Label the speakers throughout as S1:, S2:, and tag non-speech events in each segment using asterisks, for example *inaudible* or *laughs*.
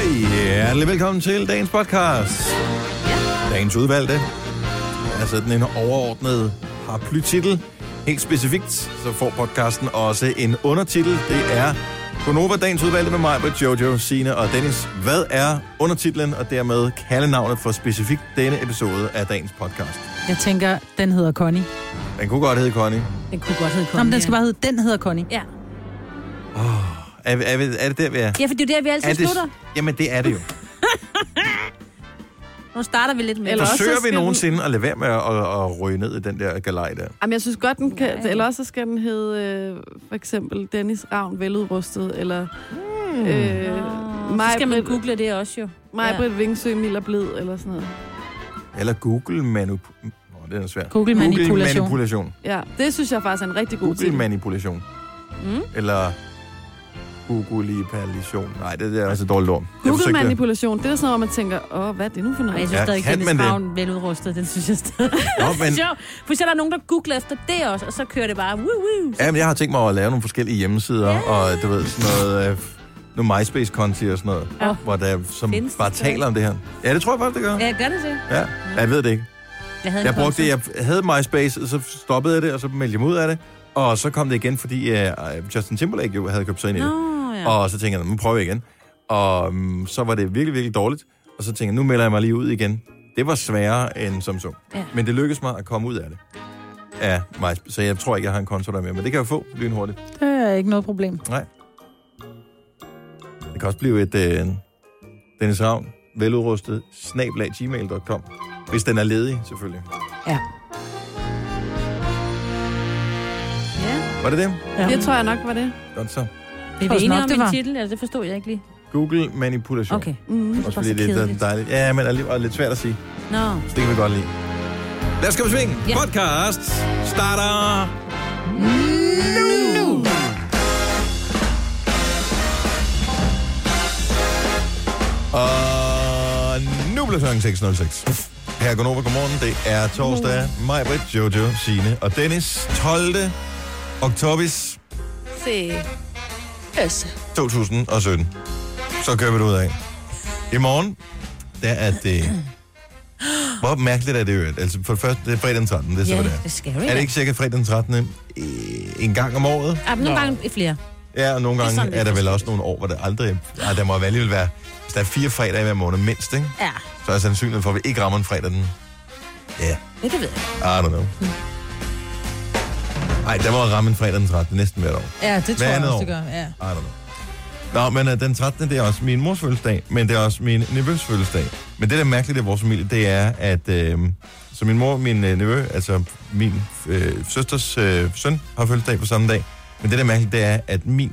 S1: Hjertelig velkommen til dagens podcast. Dagens udvalgte er sådan en overordnet paraplytitel. Helt specifikt, så får podcasten også en undertitel. Det er Gonova Dagens Udvalgte med mig, med Jojo, Sine og Dennis. Hvad er undertitlen og dermed kaldenavnet for specifikt denne episode af dagens podcast?
S2: Jeg tænker, den hedder Connie.
S1: Den kunne godt hedde Connie.
S3: Den kunne godt hedde Connie.
S2: Nå, men den skal
S3: ja.
S2: bare hedde, den hedder Connie.
S3: Ja.
S1: Er, vi- er, vi- er det der, vi er?
S3: ja, for det er jo der, vi altid
S1: er det,
S3: slutter.
S1: jamen, det er det jo.
S3: Nu starter vi lidt med.
S4: Eller- også så
S1: Forsøger vi
S4: skal den-
S1: nogensinde at lade være med at, at, at ryge ned i den der galej der?
S4: Jamen, jeg synes godt, den kan... Eller også så skal den hedde, øh, for eksempel, Dennis Ravn veludrustet, eller... Mm. Øh,
S3: Hmm. Så
S4: Maj
S3: skal man google det også jo. Mm?
S4: Majbrit Vingsø Mild og Blid, eller sådan noget.
S1: Eller Google manip... Nå, det er svært.
S2: Google manipulation.
S1: Google manipulation.
S4: Ja, det synes jeg faktisk er en rigtig god
S1: Google
S4: ting.
S1: manipulation.
S3: Mm.
S1: Eller Google-palation. Nej, det der er altså dårligt ord. Jeg
S4: Google
S1: forsøgte det.
S4: manipulation, det er sådan noget, hvor man tænker, åh, hvad er det nu for
S3: Og
S4: noget?
S3: jeg synes
S1: Ja,
S3: ja, stadig,
S1: kan
S3: at Dennis
S1: man det?
S3: Ravn veludrustet, den synes jeg stadig.
S1: Nå, men,
S3: Men... Sjov. For så er der nogen, der googler efter det også, og så kører det bare, woo, woo.
S1: jamen, jeg har tænkt mig at lave nogle forskellige hjemmesider,
S3: Ja.
S1: og du ved, sådan noget... Øh, nogle MySpace-konti og sådan noget,
S3: Ja.
S1: hvor der, som
S3: Findes det
S1: bare
S3: stadig?
S1: taler om det her. Ja, det tror jeg faktisk, det gør.
S3: Ja, gør det det?
S1: Ja, jeg ved det ikke.
S3: Jeg havde en
S1: Jeg brugte
S3: konto.
S1: det, jeg havde MySpace, og så stoppede jeg det, og så meldte jeg mig ud af det. Og så kom det igen, fordi uh, Justin Timberlake jo havde købt sig ind i det.
S3: Nå, ja.
S1: Og så tænkte jeg, nu prøver jeg igen. Og um, så var det virkelig, virkelig dårligt. Og så tænkte jeg, nu melder jeg mig lige ud igen. Det var sværere end som så.
S3: Ja.
S1: Men det lykkedes mig at komme ud af det. Ja, MySpace. Så jeg tror ikke, jeg har en konto der mere. Men det kan jeg få lynhurtigt.
S2: Det er ikke noget problem.
S1: Nej. Det kan også blive et øh, Dennis Ravn, veludrustet, snablag gmail.com. Hvis den er ledig, selvfølgelig.
S3: ja.
S1: Var det det?
S2: Ja.
S4: Det tror jeg nok var det.
S1: Godt så.
S3: Det
S2: tror
S3: er vi
S2: også
S3: enige
S2: nok,
S3: om
S2: det
S3: min
S2: var.
S3: titel, eller det forstod jeg ikke lige.
S1: Google manipulation.
S3: Okay.
S4: Mm.
S1: Også
S3: bare
S1: fordi
S3: så
S1: det er
S3: kedeligt.
S1: dejligt. Ja, men alligevel lidt svært at sige.
S3: Nå.
S1: Så det kan vi godt lide. Lad os komme i sving.
S3: Ja.
S1: Podcast starter nu. Og nu bliver klokken 6.06. Her er Gunova, godmorgen. Det er torsdag. Mig, Britt, Jojo, Signe og Dennis. 12. oktober
S4: Se. Yes.
S1: 2017. Så kører vi det ud af. I morgen, der er det... Hvor mærkeligt er det jo? Altså, for det første, det er fredag den 13. Det er så,
S3: Ja,
S1: hvad det
S3: det
S1: er.
S3: er scary.
S1: Er det ikke cirka fredag den 13. øh, en gang om året?
S3: Ja, men nogle gange flere.
S1: Ja, og nogle
S3: Det er
S1: gange
S3: sådan
S1: er,
S3: lidt
S1: der vel
S3: forskelligt.
S1: også nogle år, hvor der aldrig... Ej, der må alligevel være... Hvis der er fire fredage hver måned mindst, ikke?
S3: Ja,
S1: så er sandsynligheden for, at vi ikke rammer en fredag den... Ja,
S3: det, det ved jeg.
S1: yeah, I don't know. Ej, der må ramme en fredag den 13. næsten hvert år.
S2: Ja, det tror jeg
S1: andet
S2: også,
S1: år.
S2: det gør. Ja.
S1: I don't know. Nå, men øh, den 13. det er også min mors fødselsdag, men det er også min nevøs fødselsdag. Men det, der er mærkeligt i vores familie, det er, at øh, så min mor, min øh, nevø, altså min øh, søsters øh, søn har fødselsdag på samme dag. Men det, der er mærkeligt, det er, at min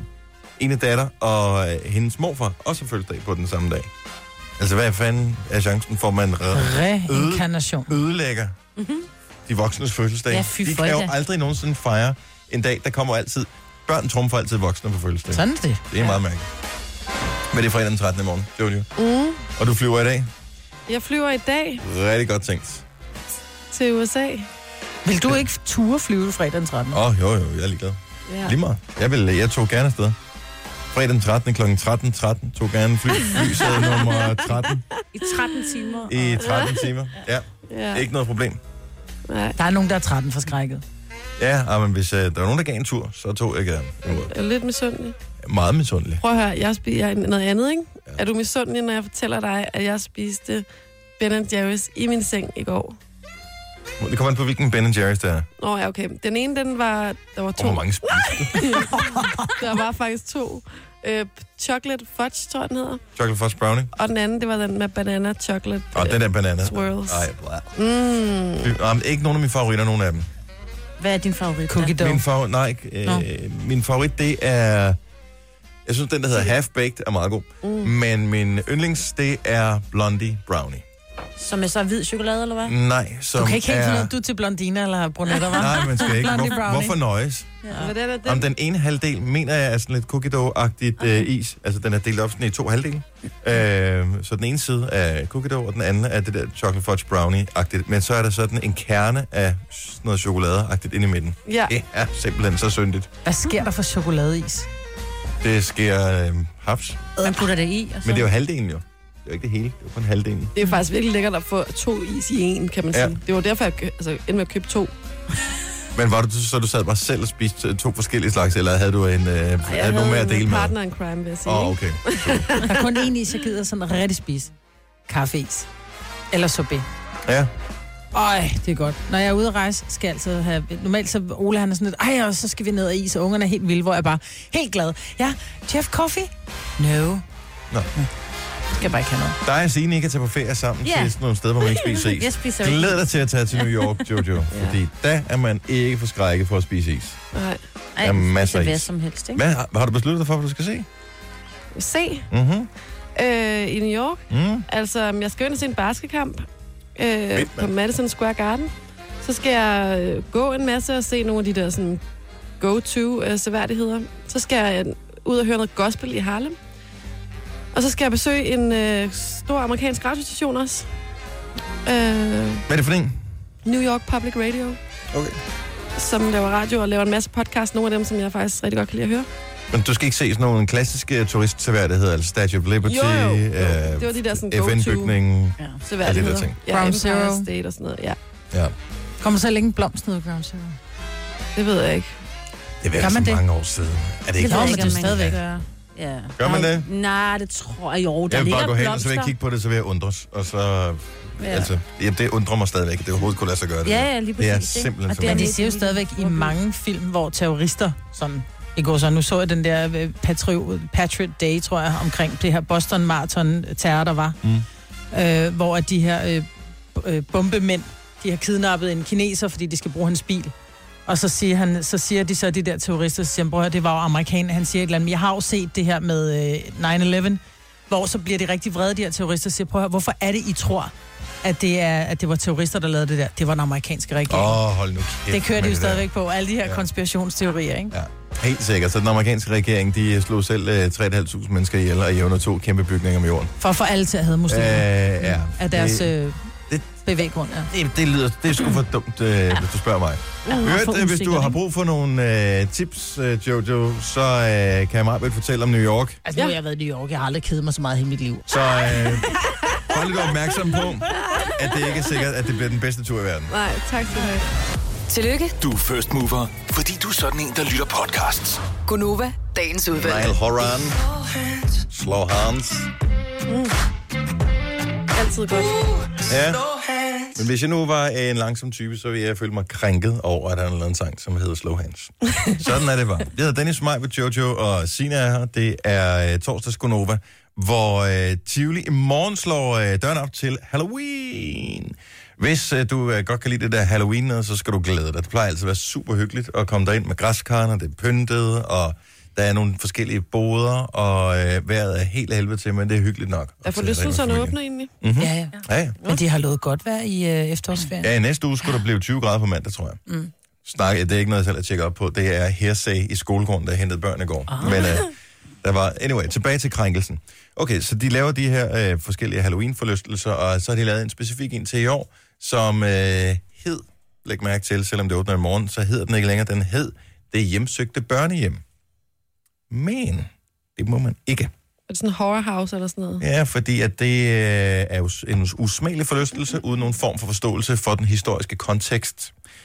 S1: ene datter og øh, hendes morfar også har fødselsdag på den samme dag. Altså, hvad fanden er chancen for, at man re-
S2: Reinkarnation.
S1: ødelægger mm-hmm. de voksnes fødselsdag?
S3: Ja, fy
S1: de
S3: for
S1: kan jo
S3: da.
S1: aldrig nogensinde fejre en dag, der kommer altid... Børn trumfer altid voksne på fødselsdag.
S2: Sådan er det.
S1: Det er meget mærkeligt. Men det er fredag den 13. i morgen, Jojo.
S4: Mm.
S1: Og du flyver i dag.
S4: Jeg flyver i dag
S1: Rigtig godt tænkt.
S4: til USA.
S2: Vil du ikke ture flyve fredag den 13?
S1: Åh, oh, jo, jo, jeg er ligeglad.
S4: Ja.
S1: Lige meget. Jeg, vil, jeg tog gerne afsted. Fredag den 13. kl. 13.13 13, tog gerne fly, flysæde nummer 13
S3: I 13 timer. Og...
S1: i 13 timer. Ja,
S4: Ja.
S1: ikke noget problem.
S4: Nej.
S2: Der er nogen, der er 13 forskrækket.
S1: Ja, ah, men hvis uh, der var nogen, der gav en tur, så tog jeg gerne. Jeg var
S4: Jeg er lidt misundelig.
S1: Meget misundelig.
S4: Prøv at høre, jeg spiser noget andet, ikke? Ja. Er du misundelig, når jeg fortæller dig, at jeg spiste Ben Jerry's i min seng i går?
S1: Det kommer an på, hvilken Ben Jerry's der er.
S4: Nå, ja, okay. Den ene, den var... Der var
S1: Og
S4: to.
S1: hvor mange spiste.
S4: *laughs* Der var faktisk to. Øh, chocolate fudge, tror jeg, den hedder.
S1: Chocolate Fudge Brownie.
S4: Og den anden, det var den med banana chocolate. øh,
S1: Og den der banana.
S4: Swirls.
S1: Ej, blæh.
S4: Mm.
S1: Fy- ah, men ikke nogen af mine favoritter, nogen af dem.
S3: Hvad er din favorit?
S2: Cookie
S3: da?
S2: dough.
S1: Min favorit, nej,
S2: Nå.
S1: øh, min favorit, det er... Jeg synes, den, der hedder Half Baked, er meget god. Mm. Men min yndlings, det er Blondie Brownie.
S3: Som er så hvid chokolade, eller hvad?
S1: Nej, som
S2: Ah. Du kan ikke helt
S1: er...
S2: finde ud, af, du er til blondiner eller brunetter, hva'?
S1: Nej, man skal ikke.
S2: Blondie
S1: Hvor,
S2: brownie.
S1: hvorfor nøjes?
S4: Ja. Den er den.
S1: Om den ene halvdel, mener jeg, er sådan lidt cookie dough-agtigt okay. øh, is. Altså, den er delt op sådan i to halvdele. Øh, så den ene side er cookie dough, og den anden er det der chocolate fudge brownie-agtigt. Men så er der sådan en kerne af sådan noget chokolade-agtigt inde i midten.
S4: Ja.
S1: Det er simpelthen så syndigt.
S2: Hvad sker der for chokoladeis?
S1: Det sker øh, haps.
S3: Man putter det i, og så...
S1: Men det er jo halvdelen jo. var ikke det hele, det var kun halvdelen.
S4: Det er faktisk virkelig lækkert at få to is i en, kan man
S1: Ja.
S4: sige. Det var derfor, jeg kø- altså, endte med at købe to.
S1: Men var du så, du sad bare selv og spiste øh, to forskellige slags, eller havde du en, øh,
S4: jeg
S1: havde nogen med at dele med?
S4: partner in crime, vil jeg sige.
S1: Åh, oh,
S4: ikke?
S1: okay.
S2: Der er kun én is, jeg gider sådan rigtig spise. Kaffeis. Eller sorbet.
S1: Ja.
S2: Ej, det er godt. Når jeg er ude at rejse, skal jeg altid have... Normalt så Ole, han er sådan lidt, ej, og så skal vi ned og is, og ungerne er helt vilde, hvor jeg bare helt glad. Ja, Jeff Coffee? No.
S1: Nå.
S2: Skal jeg bare ikke have noget.
S1: Dig og Signe, I kan tage på ferie sammen
S3: Ja.
S1: yeah. til sådan nogle steder, hvor man ikke spiser
S3: *laughs*
S1: is.
S3: Jeg spiser ikke.
S1: Glæd dig til at tage til New York, Jojo, ja. fordi der er man ikke forskrækket for at spise is.
S4: Nej.
S3: Ej,
S1: Jamen,
S3: jeg
S1: masser af
S3: spiser
S1: is.
S3: hvad som helst, ikke?
S1: Hvad har- har du besluttet dig for, hvad du skal se?
S4: Se
S1: Mhm.
S4: øh, i New York.
S1: Mm.
S4: Altså, jeg skal jo ind og se en baskekamp øh,
S1: Fedt,
S4: på
S1: mand.
S4: Madison Square Garden. Så skal jeg øh, gå en masse og se nogle af de der sådan, go-to-seværdigheder. Så skal jeg øh, ud og høre noget gospel i Harlem. Og så skal jeg besøge en øh, stor amerikansk radiostation også. Øh,
S1: Hvad er det for en?
S4: New York Public Radio,
S1: Okay.
S4: som laver radio og laver en masse podcast. Nogle af dem, som jeg faktisk rigtig godt kan lide at høre.
S1: Men du skal ikke se sådan nogle klassiske turistseværdigheder, altså Statue of Liberty,
S4: Jo, jo, jo.
S1: øh,
S4: Det var de der sådan go-to
S1: FN-bygningen.
S2: Ja.
S1: Alle de der
S4: seværdigheder.
S1: ting.
S4: Ja,
S2: Ground
S4: Empire
S2: Zero.
S4: State og sådan noget. Ja,
S1: Ja.
S2: Kommer så længe blomsten ud, Ground Zero?
S4: det ved jeg ikke.
S1: Det er
S2: Gør
S1: vel så
S2: man det?
S1: mange år siden. Er det ikke
S2: ved
S1: det er
S2: jeg ikke, om man stadigvæk.
S3: gøre. Ja.
S1: Gør man
S3: Nej,
S1: det?
S3: Nej, det tror jeg. Jo, der
S1: Jeg vil
S3: ligger
S1: bare gå hen, og så vil jeg
S3: blomster.
S1: kigge på det, så vil jeg undres. Og så, ja.
S3: Ja.
S1: altså, ja, det undrer mig stadigvæk, at det overhovedet kunne lade sig gøre det.
S3: Ja, ja, lige
S1: Det
S3: præcis.
S1: er
S3: ikke?
S1: simpelthen
S3: Og
S1: så
S3: det er
S2: Men de
S1: vanvittigt.
S3: lidt-
S2: siger jo stadigvæk i mange film, hvor terrorister, sådan i går så, nu så jeg den der øh, Patriot, Patriot Day, tror jeg, omkring det her Boston Marathon terror, der var,
S1: Mm.
S2: øh, hvor at de her øh, b- øh, bombemænd, de har kidnappet en kineser, fordi de skal bruge hans bil. Og så siger, han, så siger de så, de der terrorister, så siger, han, "Prøv at høre, det var jo amerikaner, han siger et eller andet, men jeg har jo set det her med øh, 9-11, hvor så bliver de rigtig vrede, de her terrorister, og siger, prøv at høre, hvorfor er det, I tror, at det, er, at det var terrorister, der lavede det der? Det var den amerikanske regering.
S1: Åh, oh, hold nu kæft.
S2: Det kører
S1: med
S2: de jo
S1: der.
S2: stadigvæk på, alle de her
S1: Ja.
S2: ja. konspirationsteorier, ikke?
S1: Helt sikkert. Så den amerikanske regering, de slog selv øh, 3.500 mennesker ihjel og jævner to kæmpe bygninger om jorden.
S2: For at få alle til at have
S1: Øh,
S2: muslimer øh,
S1: ja.
S2: af deres
S1: Det,
S2: øh,
S1: det-
S2: bevæggrund. Ja.
S1: det, det, lyder, det er sgu for dumt, øh, hvis du spørger mig. Hørt, øh, hvis du har brug for nogle øh, tips, øh, Jojo, så øh, kan jeg meget vel fortælle om New York.
S2: Altså, nu har jeg været i New York, jeg har aldrig kedet mig så meget i hele mit liv.
S1: Så øh, hold lidt opmærksom på, at det ikke er sikkert, at det bliver den bedste tur i verden.
S4: Nej, tak skal du have.
S5: Tillykke,
S6: Du er first mover, fordi du er sådan en, der lytter podcasts.
S5: Gunova, dagens udvalgte.
S1: Niall Horan. Slow hands.
S4: Altid godt.
S1: Ja. Men hvis jeg nu var en langsom type, så ville jeg føle mig krænket over, at han lavede en sang, som hedder Slow Hands. Sådan er det bare. Jeg hedder Dennis Maj ved Jojo, og Sina er her. Det er øh, torsdags Gonova, hvor øh, Tivoli i morgen slår øh, døren op til Halloween. Hvis øh, du øh, godt kan lide det der Halloween, noget, så skal du glæde dig. Det plejer altid at være super hyggeligt at komme derind med græskarne, og det er pyntet, og der er nogle forskellige boder, og øh, vejret er helt af helvede til, men det er hyggeligt nok.
S4: Er for lystelserne åbne egentlig?
S2: Mm-hmm. Ja, ja.
S1: Ja, ja.
S2: Men de har lovet godt vejr i øh, efterårsferien. Ja.
S1: Ja, i næste uge skulle der blive 20 grader på mandag, tror jeg. Mm. Snak, det er ikke noget, jeg selv har tjekket op på. Det er hearsay i skolegården, der hentede børn i går. Ah. Men uh, der var... Anyway, tilbage til krænkelsen. Okay, så de laver de her øh, forskellige Halloween-forlystelser, og så har de lavet en specifik en til i år, som øh, hed, læg mærke til, selvom det åbner i morgen, så hedder den ikke længere, den hed, det hjemsøgte børnehjem. Men det må man ikke.
S4: Er det sådan en horror house eller sådan noget?
S1: Ja, fordi at det øh, er jo s- en usmagelig forlystelse, uden nogen form for forståelse for den historiske kontekst.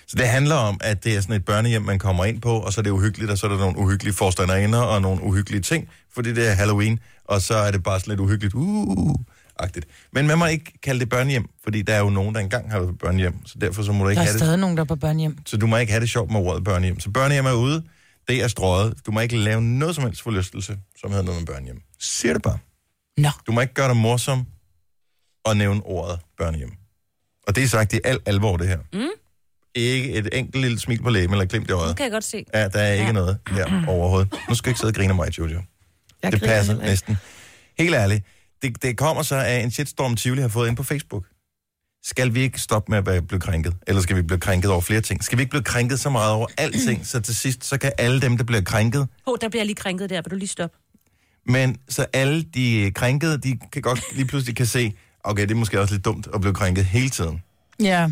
S1: Så det handler om, at det er sådan et børnehjem, man kommer ind på, og så er det uhyggeligt, og så er der nogle uhyggelige forstanderinder og nogle uhyggelige ting, fordi det er Halloween, og så er det bare sådan lidt uhyggeligt, uh agtigt Men man må ikke kalde det børnehjem, fordi der er jo nogen, der engang har været på børnehjem, så derfor så må du ikke
S2: Der er
S1: have det
S2: stadig nogen, der er på børnehjem.
S1: så du må ikke have det sjovt med ordet børnehjem. Så børnehjem er ude, det er strøget. Du må ikke lave noget som helst forlystelse, som hedder noget med børnehjem. Siger det bare.
S2: Nå.
S1: Du må ikke gøre dig morsom og nævne ordet børnehjem. Og det er sagt i al alvor, det her.
S3: Mm.
S1: Ikke et enkelt lille smil på læben eller glimt i
S3: Nu
S1: øjet.
S3: kan jeg godt se.
S1: Ja, der er ikke
S3: Ja.
S1: noget her overhovedet. Nu skal jeg ikke sidde og grine af mig, Jojo.
S4: Jeg
S1: Det
S4: griner
S1: passer
S4: heller ikke.
S1: næsten. Helt ærligt, det, det kommer så af en shitstorm, Tivoli har fået ind på Facebook. Skal vi ikke stoppe med at være- blive krænket? Eller skal vi blive krænket over flere ting? Skal vi ikke blive krænket så meget over alting, så til sidst, så kan alle dem, der bliver krænket,
S3: Hov, der bliver jeg lige krænket der. Vil du lige stoppe?
S1: men så alle de krænkede, de kan godt lige pludselig kan se, okay, det er måske også lidt dumt at blive krænket hele tiden.
S2: Ja.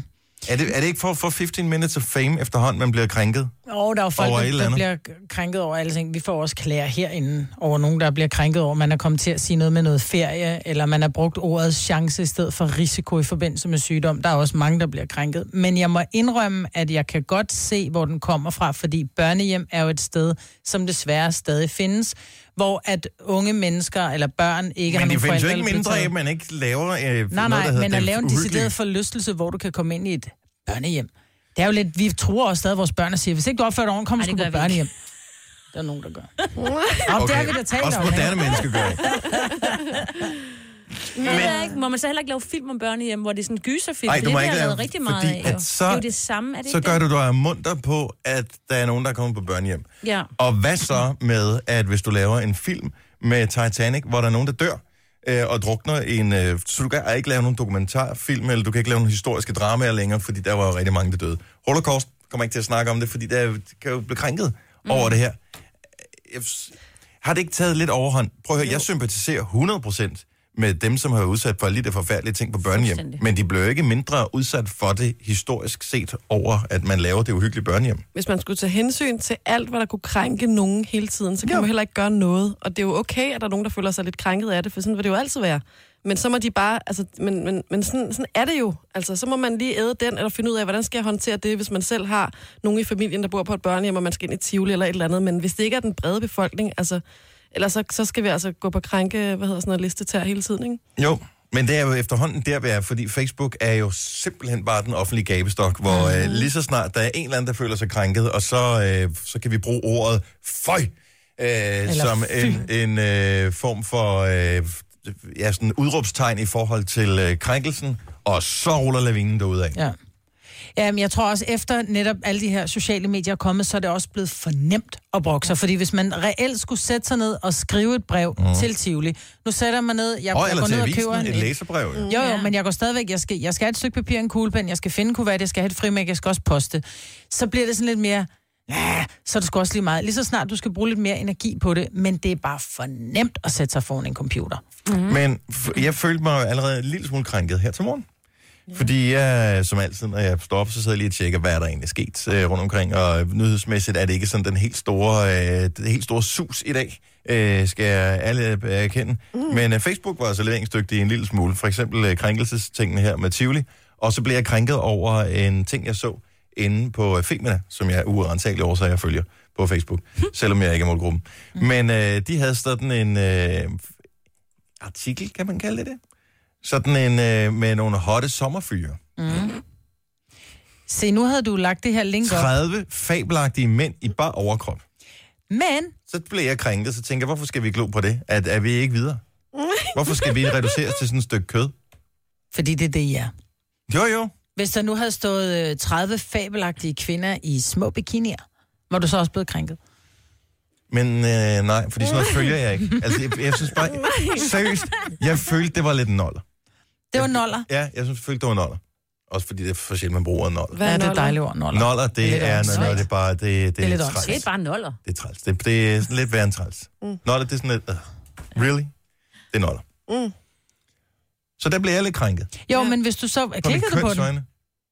S1: Er det, er det ikke for, for 15 minutes of fame efterhånden, man bliver krænket?
S2: Og der er jo folk,
S1: Over et
S2: der,
S1: eller
S2: der
S1: andet.
S2: bliver krænket over alle ting. Vi får også klager herinde over nogen, der bliver krænket over, man er kommet til at sige noget med noget ferie, eller man har brugt ordet chance i stedet for risiko i forbindelse med sygdom. Der er også mange, der bliver krænket. Men jeg må indrømme, at jeg kan godt se, hvor den kommer fra, fordi børnehjem er jo et sted, som desværre stadig findes, hvor at unge mennesker eller børn ikke har
S1: Men
S2: nogen
S1: det findes jo
S2: forældre,
S1: ikke
S2: der
S1: mindre,
S2: bliver
S1: af, at
S2: taget-
S1: man ikke laver øh, noget,
S2: Nej, nej,
S1: der hedder
S2: men at
S1: det
S2: lave en
S1: uhyggelige.
S2: decideret forlystelse, hvor du kan komme ind i et børnehjem. Det er jo lidt, vi tror også stadig, at vores børn og siger, hvis ikke du opfører dig ordentligt, kommer
S3: Ej, det
S2: du
S3: gør
S2: på
S3: vi
S2: børnehjem. *laughs* Der er nogen, der gør. Og det har vi da talt
S1: Også
S2: om. ikke?
S1: moderne mennesker gør det.
S3: Men... Jeg ved ikke, må man så heller ikke lave film om børnehjem, hvor det er sådan en gyserfilm?
S1: Ej,
S3: For
S1: du må
S3: det
S1: ikke
S3: bliver
S1: lave-
S3: lavet rigtig meget
S1: fordi
S3: af, jo.
S1: at så-
S3: Det er jo det samme, er det
S1: Så
S3: ikke
S1: gør
S3: det?
S1: du dig munter på, at der er nogen, der er kommet på børnehjem.
S3: Ja.
S1: Og hvad så med, at hvis du laver en film med Titanic, hvor der er nogen, der dør øh, og drukner i en... Øh, så du kan ikke lave nogen dokumentarfilm, eller du kan ikke lave nogen historiske dramaer længere, fordi der var jo rigtig mange, der døde. Holocaust kommer ikke til at snakke om det, fordi der kan jo blive krænket mm. over det her. Jeg, s- har det ikke taget lidt overhånd? Prøv at høre, jeg sympatiserer 100% med dem, som har været udsat for alle de der forfærdelige ting på børnehjem.
S3: Fuldstændig.
S1: Men de blev jo ikke mindre udsat for det historisk set over, at man laver det uhyggelige børnehjem.
S4: Hvis man skulle tage hensyn til alt, hvad der kunne krænke nogen hele tiden, så kan man heller ikke gøre noget. Og det er jo okay, at der er nogen, der føler sig lidt krænket af det, for sådan vil det jo altid være. Men så må de bare, altså, men, men, men sådan, sådan er det jo. Altså, så må man lige æde den, eller finde ud af, hvordan skal jeg håndtere det, hvis man selv har nogen i familien, der bor på et børnehjem, og man skal ind i Tivoli eller et eller andet. Men hvis det ikke er den brede befolkning, altså, eller så, så skal vi altså gå på krænke, hvad hedder sådan noget, listetær hele tiden, ikke?
S1: Jo, men det er jo efterhånden der, vi er, fordi Facebook er jo simpelthen bare den offentlige gabestok, hvor
S2: Mhm.
S1: øh, lige så snart der er en eller anden, der føler sig krænket, og så, øh, så kan vi bruge ordet føj, øh, som en, en øh, form for øh, ja, sådan udråbstegn i forhold til øh, krænkelsen, og så ruller lavinen derudad. Ja.
S2: Ja. Jamen, jeg tror også, efter netop alle de her sociale medier er kommet, så er det også blevet for nemt at brokke sig. Fordi hvis man reelt skulle sætte sig ned og skrive et brev mm. til Tivoli, nu sætter man ned, jeg,
S1: Og
S2: jeg
S1: eller
S2: går
S1: til
S2: ned og
S1: avisen,
S2: køber en, Mm.
S1: et læserbrev. Jo.
S2: Jo, jo,
S3: Ja.
S2: men jeg går stadigvæk, jeg skal, jeg skal have et stykke papir, en kuglepen, jeg skal finde kuvert, jeg skal have et frimærke, jeg skal også poste. Så bliver det sådan lidt mere, "Ah, så er det sgu også lige meget. Lige så snart du skal bruge lidt mere energi på det, men det er bare for nemt at sætte sig foran en computer.
S1: Men f- jeg følte mig allerede en lille smule krænket her til morgen. Fordi jeg, som altid, når jeg står op, så sidder jeg lige og tjekker, hvad er der egentlig sket øh, rundt omkring. Og nyhedsmæssigt er det ikke sådan den helt store, øh, det helt store sus i dag, øh, skal jeg alle øh, erkende. Mm. Men øh, Facebook var altså leveringsdygtig en lille smule. For eksempel øh, krænkelsestingene her med Tivoli. Og så blev jeg krænket over en ting, jeg så inde på øh, Femina, som jeg uerensagelig årsager følger på Facebook, selvom jeg ikke er målgruppen. Men øh, de havde sådan en, øh, artikel, kan man kalde det det? Sådan en øh, med nogle hotte sommerfyre.
S2: Se, nu havde du lagt det her link op.
S1: 30 fabelagtige mænd i bare overkrop.
S2: Men
S1: Så blev jeg krænket, så tænker jeg, hvorfor skal vi glo på det? At, er vi ikke videre? Hvorfor skal vi reduceres til sådan et stykke kød?
S2: Fordi det er det, I er.
S1: Jo, jo.
S2: Hvis der nu havde stået øh, 30 fabelagtige kvinder i små bikinier, var du så også blevet krænket?
S1: Men øh, nej, fordi sådan noget følger jeg ikke. Altså, jeg, jeg synes bare... Seriøst, jeg følte, det var lidt en noller.
S2: Det var noller.
S1: Ja, jeg synes, jeg følte, det var en noller. Også fordi det er for sjældent, man bruger en noller.
S4: Hvad
S2: Ja, det er
S4: noller?
S2: dejligt ord, noller.
S1: Noller,
S2: lidt
S1: det er, når, når
S2: åndssvagt.
S1: det er bare... Det, det,
S2: er lidt
S1: træls.
S2: åndssvagt.
S3: Det er bare noller.
S1: Det er træls. Det, det er sådan lidt værre end træls. Mm. Noller, det er sådan lidt... Uh, really? Det er noller.
S4: Mm.
S1: Så der blev jeg lidt krænket. På
S2: Jo,
S4: Ja.
S2: men hvis du så...
S1: mit
S2: Klikkede du på den?
S1: kønsøjne.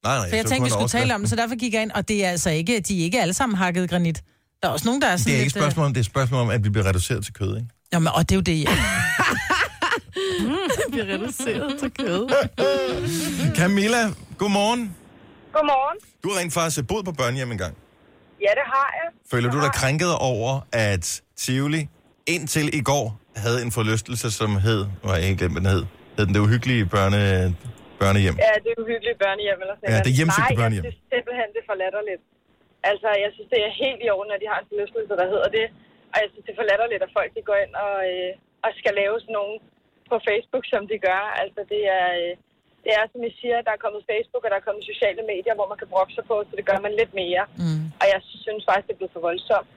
S1: Nej, nej.
S2: For jeg
S1: så
S2: tænkte,
S1: kun
S2: vi skulle
S1: overskrift.
S2: tale om det, så derfor gik jeg ind. Og det er altså ikke, de er ikke alle sammen hakket granit. Der er også nogen, der er sådan
S1: Det er ikke et
S2: lidt... øh,
S1: spørgsmål om, det er et spørgsmål om, at vi bliver reduceret til kød, ikke?
S2: Nå, men, og det er jo det, ja.
S4: Vi er reduceret til kød.
S2: Mm.
S1: Camilla, godmorgen.
S7: Godmorgen.
S1: Du har rent faktisk boet på børnehjem engang.
S7: Ja, det har jeg.
S1: Føler du dig krænket over, at Tivoli indtil i går havde en forlystelse, som hed... Hvor jeg ikke glemt, hvad den hed. Hed den det uhyggelige børne, børnehjem?
S7: *laughs* Ja, det er uhyggeligt børnehjem eller sådan
S1: Ja,
S7: noget.
S1: det er hjemsøgte
S7: Nej,
S1: børnehjem.
S7: jeg synes simpelthen, det forlatter lidt. Altså, jeg synes, det er helt i orden, at de har en forlystelse, der hedder det. Og jeg synes, det forlatter lidt, at folk de går ind og, øh, og skal lave sådan nogle på Facebook, som de gør. Altså, det er, øh, det er, som I siger, der er kommet Facebook, og der er kommet sociale medier, hvor man kan brokke sig på, så det gør man lidt mere. Mm. Og jeg synes faktisk, det er blevet for voldsomt.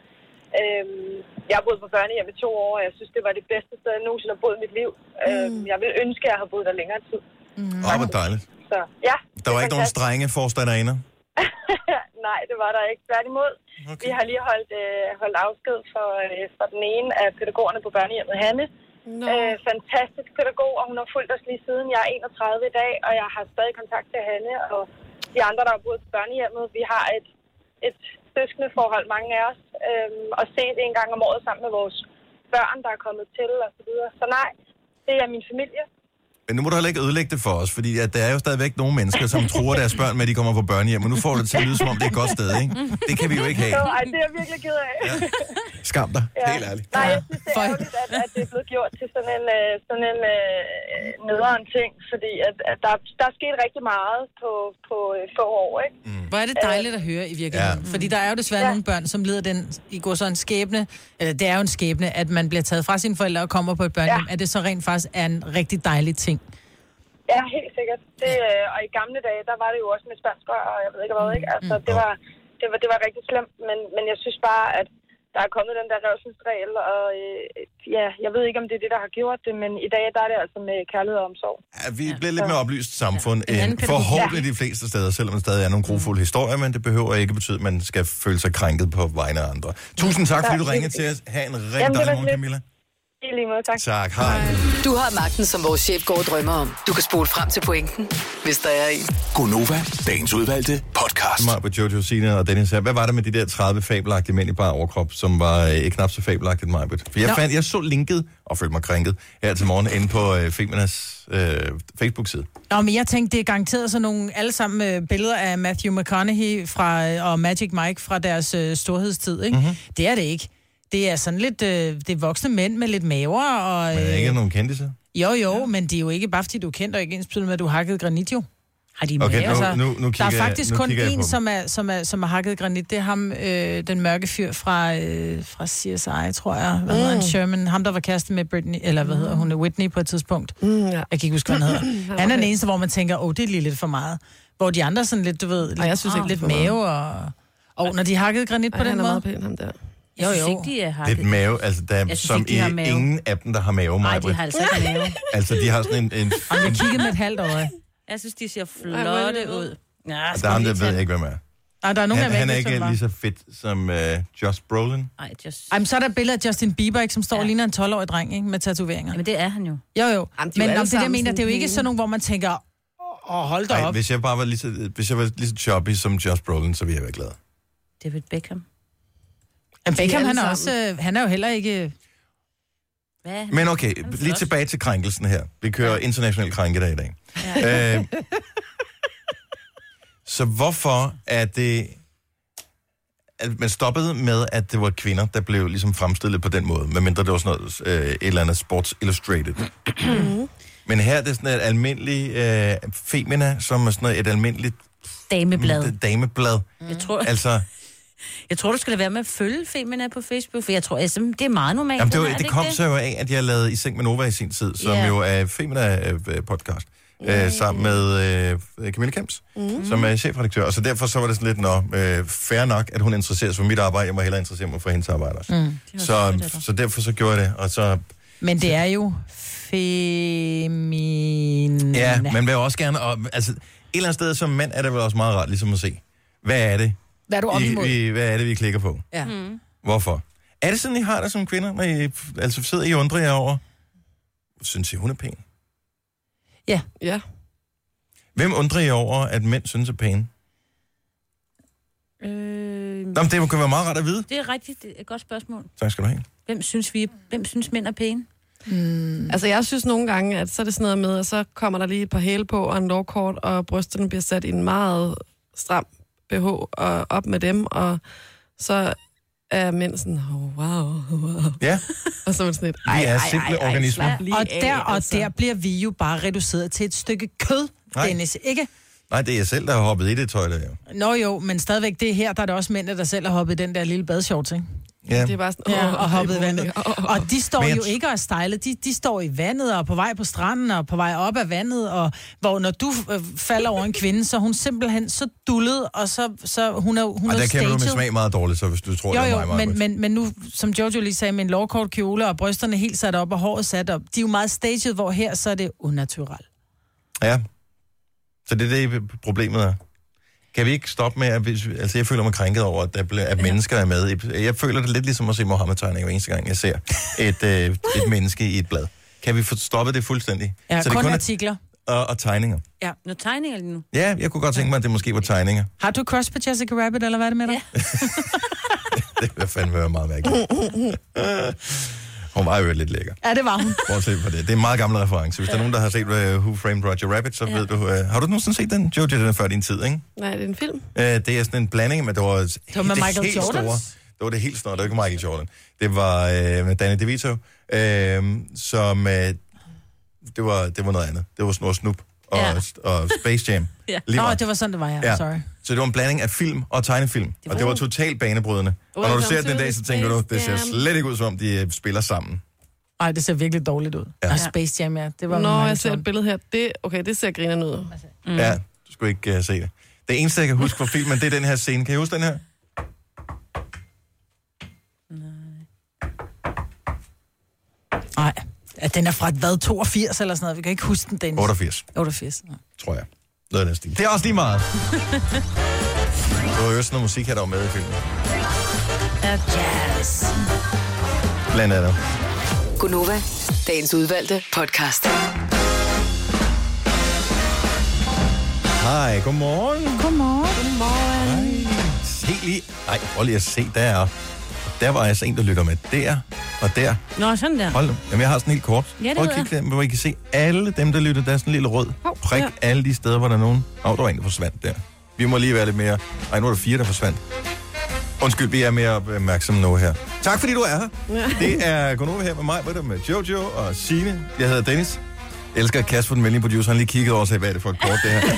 S7: Øhm, jeg har boet på børnehjem i to år, og jeg synes, det var det bedste sted, jeg nogensinde har boet i mit liv. Mm. Øhm, jeg ville ønske, at jeg havde boet der længere tid.
S1: Åh, oh, hvor dejligt.
S7: Så ja.
S1: Der var ikke nogen
S7: fantastisk.
S1: strenge forstanderinder.
S7: Nej, det var der ikke. Tværtimod. Okay. Vi har lige holdt, øh, holdt afsked for, øh, for den ene af pædagogerne på børnehjemmet, Hanne.
S4: Nå.
S7: Øh, fantastisk pædagog, og hun har fulgt os lige siden. Jeg er 31 i dag, og jeg har stadig kontakt til Hanne, og de andre, der har boet på børnehjemmet, vi har et, et søskende forhold, mange af os, øhm, og set en gang om året sammen med vores børn, der er kommet til og så videre. Så nej, det er min familie.
S1: Men nu må du heller ikke ødelægge det for os, fordi at der er jo stadigvæk nogle mennesker, som tror deres børn med, at de kommer på børnehjem, og nu får du det til at lyde, som om det er et godt sted, ikke? Det kan vi jo ikke have.
S7: Så, ej, det er jeg virkelig ked af. Ja.
S1: Skam dig, ja. helt ærligt.
S7: Nej, jeg synes, det er
S2: For-
S7: ærgerligt, at, at det er blevet gjort til sådan en, øh, sådan en øh, nederen ting, fordi at, at der, der er sket rigtig meget på, på øh, få år, ikke?
S1: Mm.
S2: Hvor er det dejligt at høre i virkeligheden. Ja. Fordi der er jo desværre ja.
S7: Ja.
S2: nogle børn, som lider den, i går så en skæbne, eller det er jo en skæbne, at man bliver taget fra sine forældre og kommer på et børnehjem, ja.
S7: Ja.
S2: at det så rent faktisk er en rigtig dejlig ting.
S7: Ja, helt sikkert. Det, øh, og i gamle dage, der var det jo også med spansk rør, og jeg ved ikke hvad, ikke? Altså, det var, det var, det var rigtig slemt, men, men jeg synes bare, at der er kommet den der revselsregel, og øh, ja, jeg ved ikke, om det er det, der har gjort det, men i dag, der er det altså med kærlighed og omsorg.
S1: Ja, vi er blevet lidt mere oplyst samfund,
S2: Den
S1: ja.
S2: anden
S1: end
S2: kategori.
S1: forhåbentlig de fleste steder, selvom der stadig er nogle grofulde historier, men det behøver ikke betyde, at man skal føle sig krænket på vegne af andre. Tusind tak, fordi du ringede til os. Ha' en rigtig
S7: Jamen, det
S1: dejlig
S7: var
S1: morgen,
S7: lidt.
S1: Camilla.
S7: I lige måde, tak.
S1: Tak, hej.
S5: Du har magten, som vores chef går og drømmer om. Du kan spole frem til pointen, hvis der er en.
S6: Gonova, dagens udvalgte podcast.
S1: Mig på Jojo Sina og Dennis her. Hvad var det med de der 30 fabelagtige mænd i bare overkrop, som var øh, knap så fabelagtigt mig? For jeg,
S2: Nå.
S1: fandt, jeg så linket og følte mig krænket her til morgen inde på øh, Feminas øh, Facebook-side.
S2: Nå, men jeg tænkte, det er garanteret sådan nogle alle sammen øh, billeder af Matthew McConaughey fra, øh, og Magic Mike fra deres øh, storhedstid, ikke?
S1: Mhm.
S2: Mm-hmm. Det er det ikke. Det er sådan lidt, øh, det er voksne mænd med lidt maver, og
S1: Men er der
S2: øh,
S1: ikke nogen kendtiser?
S2: jo jo, ja. men det er jo ikke bare fordi du er kendt, og ikke ens med, at du hakkede granit jo. Har de
S1: Okay,
S2: med?
S1: nu- nu- nu kigger
S2: der er
S1: jeg-
S2: faktisk
S1: nu
S2: kun
S1: kigger jeg på
S2: én,
S1: dem.
S2: som er, som, er, som er hakket granit. Det er ham, øh, den mørke fyr fra, øh, fra CSI, tror jeg. Hvad hedder han?
S4: Mm.
S2: Sherman. Ham, der var kæreste med Britney, eller hvad hedder hun? Whitney på et tidspunkt.
S4: Mm, *clears throat* ja.
S2: Jeg kan ikke huske, hvad han hedder. Han er den
S4: okay.
S2: eneste, hvor man tænker, åh, oh, det er lige lidt for meget. Hvor de andre sådan lidt, du ved, lidt,
S4: Ej, jeg synes ikke,
S2: lidt
S4: det er for
S2: mave og... Og når de hakkede granit på
S4: Ej,
S2: den
S4: han er
S2: måde.
S4: meget pæn, ham der.
S2: Jo,
S3: Jeg synes
S2: jo.
S3: ikke, de er
S1: Det
S3: hakket.
S1: er mave, altså der er
S3: Jeg synes
S1: som
S3: ikke, de har
S1: i,
S3: mave.
S1: ingen af dem, der har mave,
S3: Nej,
S1: mig.
S3: de har altså ikke mave.
S1: Altså, de har sådan en... en, en
S2: Kigge med et halvt øje.
S3: Jeg synes, de ser
S4: Ej, hvor er
S3: flotte
S4: det
S3: ud. Ja,
S1: der er ham, der ved jeg ikke, hvem er.
S2: Nej, der er nogen,
S1: Han,
S2: der
S1: han er
S2: ikke,
S1: ikke lige så fedt som øh, Josh Brolin.
S3: Nej, just...
S2: Ej, men så er der et billede af Justin Bieber, ikke, som står ja.
S3: Ja.
S2: og ligner en 12-årig dreng ikke, med tatoveringer.
S3: Jamen, det er han jo.
S2: Jo, jo.
S4: Jamen, de er
S2: men
S4: jo alle
S2: om det, jeg
S4: sammen
S2: mener,
S4: sådan
S2: det er jo ikke
S4: hele.
S2: sådan nogen, hvor man tænker, åh, oh, hold da
S1: Ej,
S2: op.
S1: hvis jeg bare var lige så, hvis jeg var lige så choppy som Josh Brolin, så ville jeg være glad.
S3: David Beckham.
S2: Men Beckham,
S4: alle
S2: han er,
S4: sammen.
S2: også, øh, han er jo heller ikke...
S3: Hvad er han?
S1: Men okay, lige
S3: flot.
S1: tilbage til krænkelsen her. Vi kører international krænkedag i dag. Ja. Øh, så hvorfor er det... At man stoppede med, at det var kvinder, der blev ligesom fremstillet på den måde, medmindre det var sådan noget, øh, et eller andet Sports Illustrated. Men her er det sådan et almindeligt øh, femina, som er sådan noget, et almindeligt
S3: Dameblad.
S1: dameblad.
S3: Jeg tror,
S1: Altså,
S3: jeg tror, du skal lade være med at følge Femina på Facebook, for jeg tror, altså, det er meget normalt.
S1: Jamen, det, var,
S3: Er
S1: det, det kom
S3: ikke
S1: så jo af, at jeg lavede I Seng med Nova i sin tid, som
S3: Ja.
S1: jo er Femina-podcast, øh, sammen med øh, Camille Kemps, mm. som er chefredaktør. Og så derfor så var det sådan lidt, nå, øh, fair nok, at hun interesserer sig for mit arbejde, jeg må hellere interessere mig for hendes arbejde
S2: øh,
S1: også. Mm. Så, så derfor så gjorde jeg det, og så...
S2: Men det er jo femin...
S1: Ja, man vil jo også gerne... Og, altså, et eller andet sted som mand er det vel også meget rart ligesom at se, hvad er det,
S2: Hvad er du op
S1: I,
S2: imod?
S1: I, hvad er det, vi klikker på?
S2: Ja.
S1: Hvorfor? Er det sådan, I har det som kvinder, når I altså, sidder I og undrer jer over, synes I, hun er pæn?
S4: Ja.
S1: Hvem undrer I over, at mænd synes er pæne?
S3: det? Øh,
S1: Nå, men det kunne være meget rart at vide.
S3: det er rigtigt det er et godt spørgsmål.
S1: Tak skal du have.
S3: Hvem synes, vi, hvem synes mænd er pæne?
S2: Mm.
S4: Altså, jeg synes nogle gange, at så er det sådan noget med, at så kommer der lige et par hæle på og en lovkort, og brysterne bliver sat i en meget stram BH og op med dem, og så er mænd sådan, oh, wow, wow.
S1: Ja,
S4: Og så er man sådan lidt,
S1: Vi er simple organismer."
S4: slap lige
S2: Og
S4: af,
S2: der og
S4: altså.
S2: der bliver vi jo bare reduceret til et stykke kød,
S1: Nej.
S2: Dennis, ikke?
S1: nej, det er jeg selv, der har hoppet i det tøj, der jo.
S2: Nå jo, men stadigvæk det her, der er det også mændene, der selv har hoppet i den der lille badshorts, ikke?
S1: Ja.
S4: Det er bare sådan,
S2: Ja,
S4: åh,
S2: og hoppet i
S4: det er
S2: vandet.
S4: ulækkert. Åh, åh, åh.
S2: Og de står
S1: Men jeg
S2: jo
S1: tr-
S2: ikke og er stylet. De, de står i vandet og er på vej på stranden og på vej op af vandet. Og hvor når du øh, falder over en kvinde, så er hun simpelthen så dullet, og så, så hun er, hun
S1: Og
S2: er
S1: der kender du min
S2: staged.
S1: smag meget dårligt, så hvis du tror,
S2: Jo,
S1: det er
S2: jo,
S1: mig,
S2: men,
S1: men,
S2: men, men nu, som Jojo lige sagde, med en lovkort kjole og brysterne helt sat op og håret sat op. De er jo meget staged, hvor her så er det unnatural.
S1: Ja. Så det er det, problemet er. Kan vi ikke stoppe med, at hvis, altså jeg føler mig krænket over, at, der ble, at mennesker er med. i- Jeg føler det lidt ligesom at se Mohammed-tegninger hver eneste gang, jeg ser et, øh, et menneske i et blad. Kan vi få stoppet det fuldstændig?
S2: Ja,
S1: så
S2: så
S1: det
S2: kun
S1: kun er
S2: artikler.
S1: og, og tegninger.
S2: Ja.
S3: Nu tegninger lige nu.
S1: Ja, jeg kunne godt tænke mig, at det måske var tegninger.
S2: Har du crush på Jessica Rabbit, eller hvad er det med dig? Ja.
S1: *laughs* Det ville fandme være meget mærkeligt. Hun var jo lidt lækker.
S2: ja, det var hun.
S1: Bortset fra det. Det er en meget gammel reference. Hvis der er nogen, der har set uh, Who Framed Roger Rabbit, så ja. ved du... Uh, har du nogensinde set den? Jojo, den er før din tid, ikke?
S4: Nej, det er en film.
S1: Uh, det er sådan en blanding, men det var, det
S2: var med Michael
S1: helt
S2: Jordan?
S1: store. Det var det helt store. Det var ikke Michael Jordan. Det var uh, med Danny DeVito, uh, som... Uh, det, var, det var noget andet. Det var Snor Snoop og,
S3: Ja.
S1: og Space Jam.
S3: Ja.
S1: Lige
S2: Nå,
S1: meget.
S2: det var sådan, det var, ja.
S1: Ja.
S2: ja. Sorry.
S1: Så det var en blanding af film og tegnefilm. Det og det var totalt banebrydende. Og når du
S4: Welcome
S1: ser
S4: to
S1: den dag,
S4: the
S1: så tænker du, det ser
S4: Space Jam.
S1: slet ikke ud som om, de øh, spiller sammen.
S2: Ej, det ser virkelig dårligt ud. Ja. Og Space Jam, ja. Det var
S4: Nå,
S2: med
S4: jeg
S2: Michael
S4: ser et
S2: Jordan.
S4: billede her. Det, okay, det ser grinerende ud.
S1: Mm. Ja, du skulle ikke uh, se det. Det eneste, jeg kan huske fra filmen, det er den her scene. Kan I huske den her?
S2: Nej. Ja, den er fra et hvad, 82 eller sådan noget. Vi kan ikke huske den, den.
S1: 88,
S2: 88. Nå.
S1: tror jeg. Noget af den stil. Det er også lige *laughs* meget. Det var jo sådan noget musik, her der var med i filmen.
S3: Ja, yes.
S1: Blandt andet.
S5: Gunova, dagens udvalgte podcast.
S1: Hej, godmorgen.
S2: Godmorgen.
S1: Se lige. Ej, prøv lige at se, der er. Der var altså en, der lytter med der og der.
S3: Nå, sådan der.
S1: Hold da. Jamen, jeg har sådan helt kort.
S3: Ja, det
S1: Prøv at
S3: ved
S1: kigge der, hvor I kan se alle dem, der lytter. Der er sådan en lille rød prik. Alle de steder, hvor der er nogen. Åh, oh, der var en, der forsvandt der. Vi må lige være lidt mere... Ej, nu er der fire, der forsvandt. Undskyld, vi er mere opmærksomme nu her. Tak fordi du er her. Det er Gunova her med mig, med, med Jojo og Signe. Jeg hedder Dennis. Jeg elsker at Kasper, den venlige producer, han lige kiggede over og sagde, hvad er det for et kort, det her? *laughs*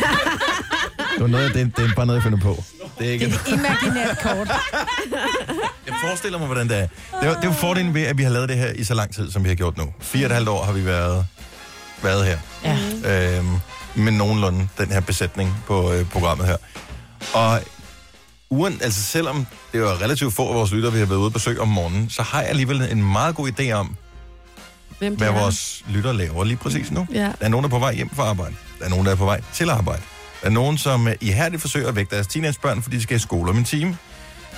S1: Det var noget, det, det er bare noget, jeg finder på. Det er ikke
S2: Det er imaginært kort.
S1: jeg forestiller mig, hvordan det er. Det er, det er jo fordelen ved, at vi har lavet det her i så lang tid, som vi har gjort nu. Fire og et halvt år har vi været, været her.
S2: Ja.
S1: Øhm, med nogenlunde den her besætning på øh, programmet her. Og uden, altså selvom det var relativt få af vores lytter, vi har været ude og besøge om morgenen, så har jeg alligevel en meget god idé om,
S4: Hvem de
S1: hvad
S4: er.
S1: vores lytter laver lige præcis nu.
S4: Ja.
S1: Der er nogen, der er på vej hjem fra arbejde. Der er nogen, der er på vej til arbejde. Der er nogen, som øh, ihærdigt forsøger at vække deres teenagebørn, fordi de skal i skole om en time.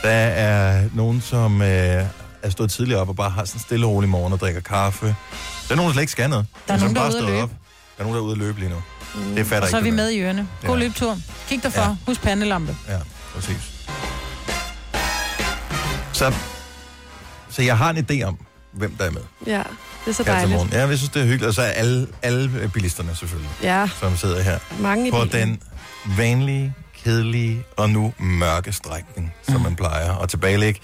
S1: Der er nogen, som øh, er stået tidligere op og bare har sådan en stille og rolig morgen og drikker kaffe. Der er nogen, der slet ikke skal noget.
S2: Der er
S1: som
S2: nogen, der er
S1: bare
S2: ude at
S1: stået
S2: løbe.
S1: Der er nogen, der er ude at løbe lige nu. Mm. Det fatter
S2: Og så er
S1: ikke
S2: vi
S1: det
S2: med i ørene. God
S1: Ja.
S2: løbetur. Kig dig for.
S1: Ja.
S2: Ja. Husk pandelampe.
S1: Ja, præcis. Så, så jeg har en idé om, hvem der er med
S4: Ja, det er så
S1: her til
S4: dejligt.
S1: morgen. Ja, jeg synes, det er hyggeligt. Og så er alle, alle bilisterne selvfølgelig,
S4: Ja,
S1: som sidder her.
S4: mange i
S1: på
S4: bilen.
S1: den vanlige, kedelige og nu mørke strækning, som man plejer at tilbagelægge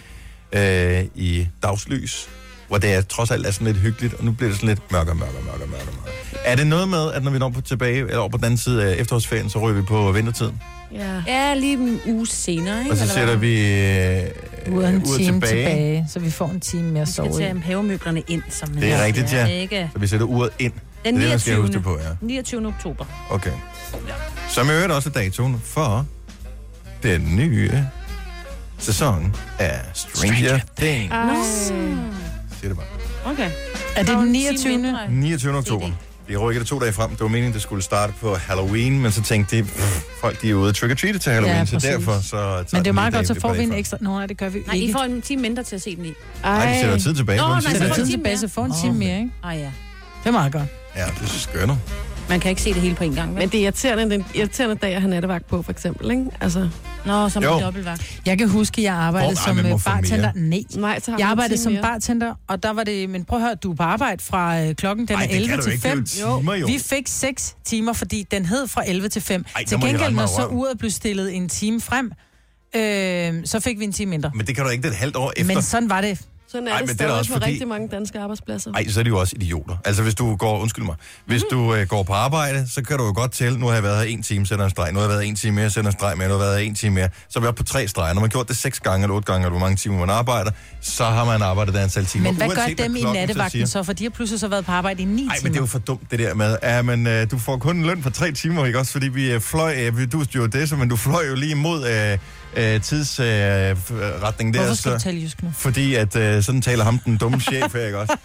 S1: øh, i dagslys, hvor det er, trods alt er sådan lidt hyggeligt, og nu bliver det sådan lidt mørkere, mørkere, mørkere, mørkere. mørkere. Er det noget med, at når vi når på tilbage, eller over på den anden side af efterårsferien, så ryger vi på vintertiden?
S4: Ja.
S3: Ja, lige en uge senere, ikke?
S1: Og så
S3: eller
S1: sætter
S3: hvad?
S1: vi øh,
S2: Ude en
S1: uret
S2: time tilbave. tilbage. så vi får en time mere at
S3: Vi skal
S2: sove i.
S3: tage havemøblerne ind, som man
S1: Det er
S3: siger,
S1: rigtigt, ja.
S3: Ikke?
S1: Så vi sætter uret ind.
S3: Den
S1: det er det, man
S3: 29.
S1: skal huske det på, ja.
S3: 29. oktober.
S1: Okay. Som i øvrigt også er datoen for den nye sæson af Stranger, Stranger Things. Siger det bare.
S3: Mm. Okay.
S2: Er det
S3: Og
S2: den
S3: en
S2: 29.
S3: time mindre.
S1: 29. oktober. Vi rykker det to dage frem. Det var meningen, det skulle starte på Halloween, men så tænkte de, pff, folk de er ude og trick-or-treat til Halloween,
S2: Ja,
S1: så
S2: præcis.
S1: derfor så... tager
S2: Men det er
S1: den
S2: meget
S1: lige
S2: godt, så
S1: dagen
S2: får vi en
S1: bagfra.
S2: ekstra... Nå, nej, det gør vi
S3: Nej, I
S2: ikke.
S3: får en time mindre til at se den i.
S1: Nej, de sætter tid tilbage.
S3: Nå,
S1: på den
S3: nej,
S1: sidste
S2: Sætter
S3: så
S1: dag.
S2: tiden
S3: en time
S2: tilbage, så får en time mere, ikke?
S3: Ah ja.
S2: Det er meget godt.
S1: Ja, det er så skønner.
S3: Man kan ikke se det hele på en gang,
S4: Men
S3: vel?
S4: det er irriterende, den irriterende dag at have nattevagt på, for eksempel, ikke? Altså,
S3: Nå, som
S1: Jo.
S3: en dobbeltvagt.
S2: Jeg kan huske, jeg arbejdede
S1: Hvor- Ej,
S2: som
S1: man må
S2: øh,
S1: få
S2: bartender. Nej,
S4: nej, så har
S2: jeg
S4: man en
S2: arbejdede
S4: time
S2: som
S4: mere.
S2: bartender, og der var det... Men prøv at høre, du er på arbejde fra øh, klokken den
S1: Ej,
S2: er
S1: det
S2: 11
S1: kan du
S2: til
S1: ikke.
S2: 5.
S1: Det er jo timer, jo.
S2: Vi fik 6 timer, fordi den hed fra 11 til 5.
S1: Ej, der
S2: til
S1: må I
S2: gengæld,
S1: rende mig
S2: når
S1: i
S2: så
S1: røven.
S2: uret blev stillet en time frem, øh, så fik vi en time mindre.
S1: Men det kan du ikke det er et halvt år efter.
S2: Men sådan var det.
S4: Sådan
S1: Ej,
S4: er
S1: men
S4: det
S1: det er da
S4: stadig
S1: også
S4: på
S1: fordi-
S4: rigtig mange danske arbejdspladser.
S1: Ej, så er de jo også idioter. Altså, hvis du går, undskyld mig, hvis du øh, går på arbejde, så kan du jo godt tælle, nu har jeg været her en time, sender en streg, nu har jeg været en time mere, sender en streg mere, nu har jeg været her en time mere, så er vi oppe på tre streger. Når man har gjort det seks gange eller otte gange, eller hvor mange timer man arbejder, så har man arbejdet det antal timer.
S2: Men hvad
S1: Uanset,
S2: gør dem i
S1: klokken siger.
S2: nattevagten så? For de har pludselig så været på arbejde i 9
S1: Nej,
S2: timer.
S1: men det er jo for dumt, det der med, ja, men øh, du får kun en løn for tre timer, ikke også? Fordi vi øh, fløj, øh, vi- du er stewardesse, men du fløj jo lige imod øh, øh, tidsretningen øh, f- retningen der.
S2: Hvorfor skal
S1: så-
S2: du tale jysk nu?
S1: fordi at øh, sådan taler ham den dumme chef her, ikke også?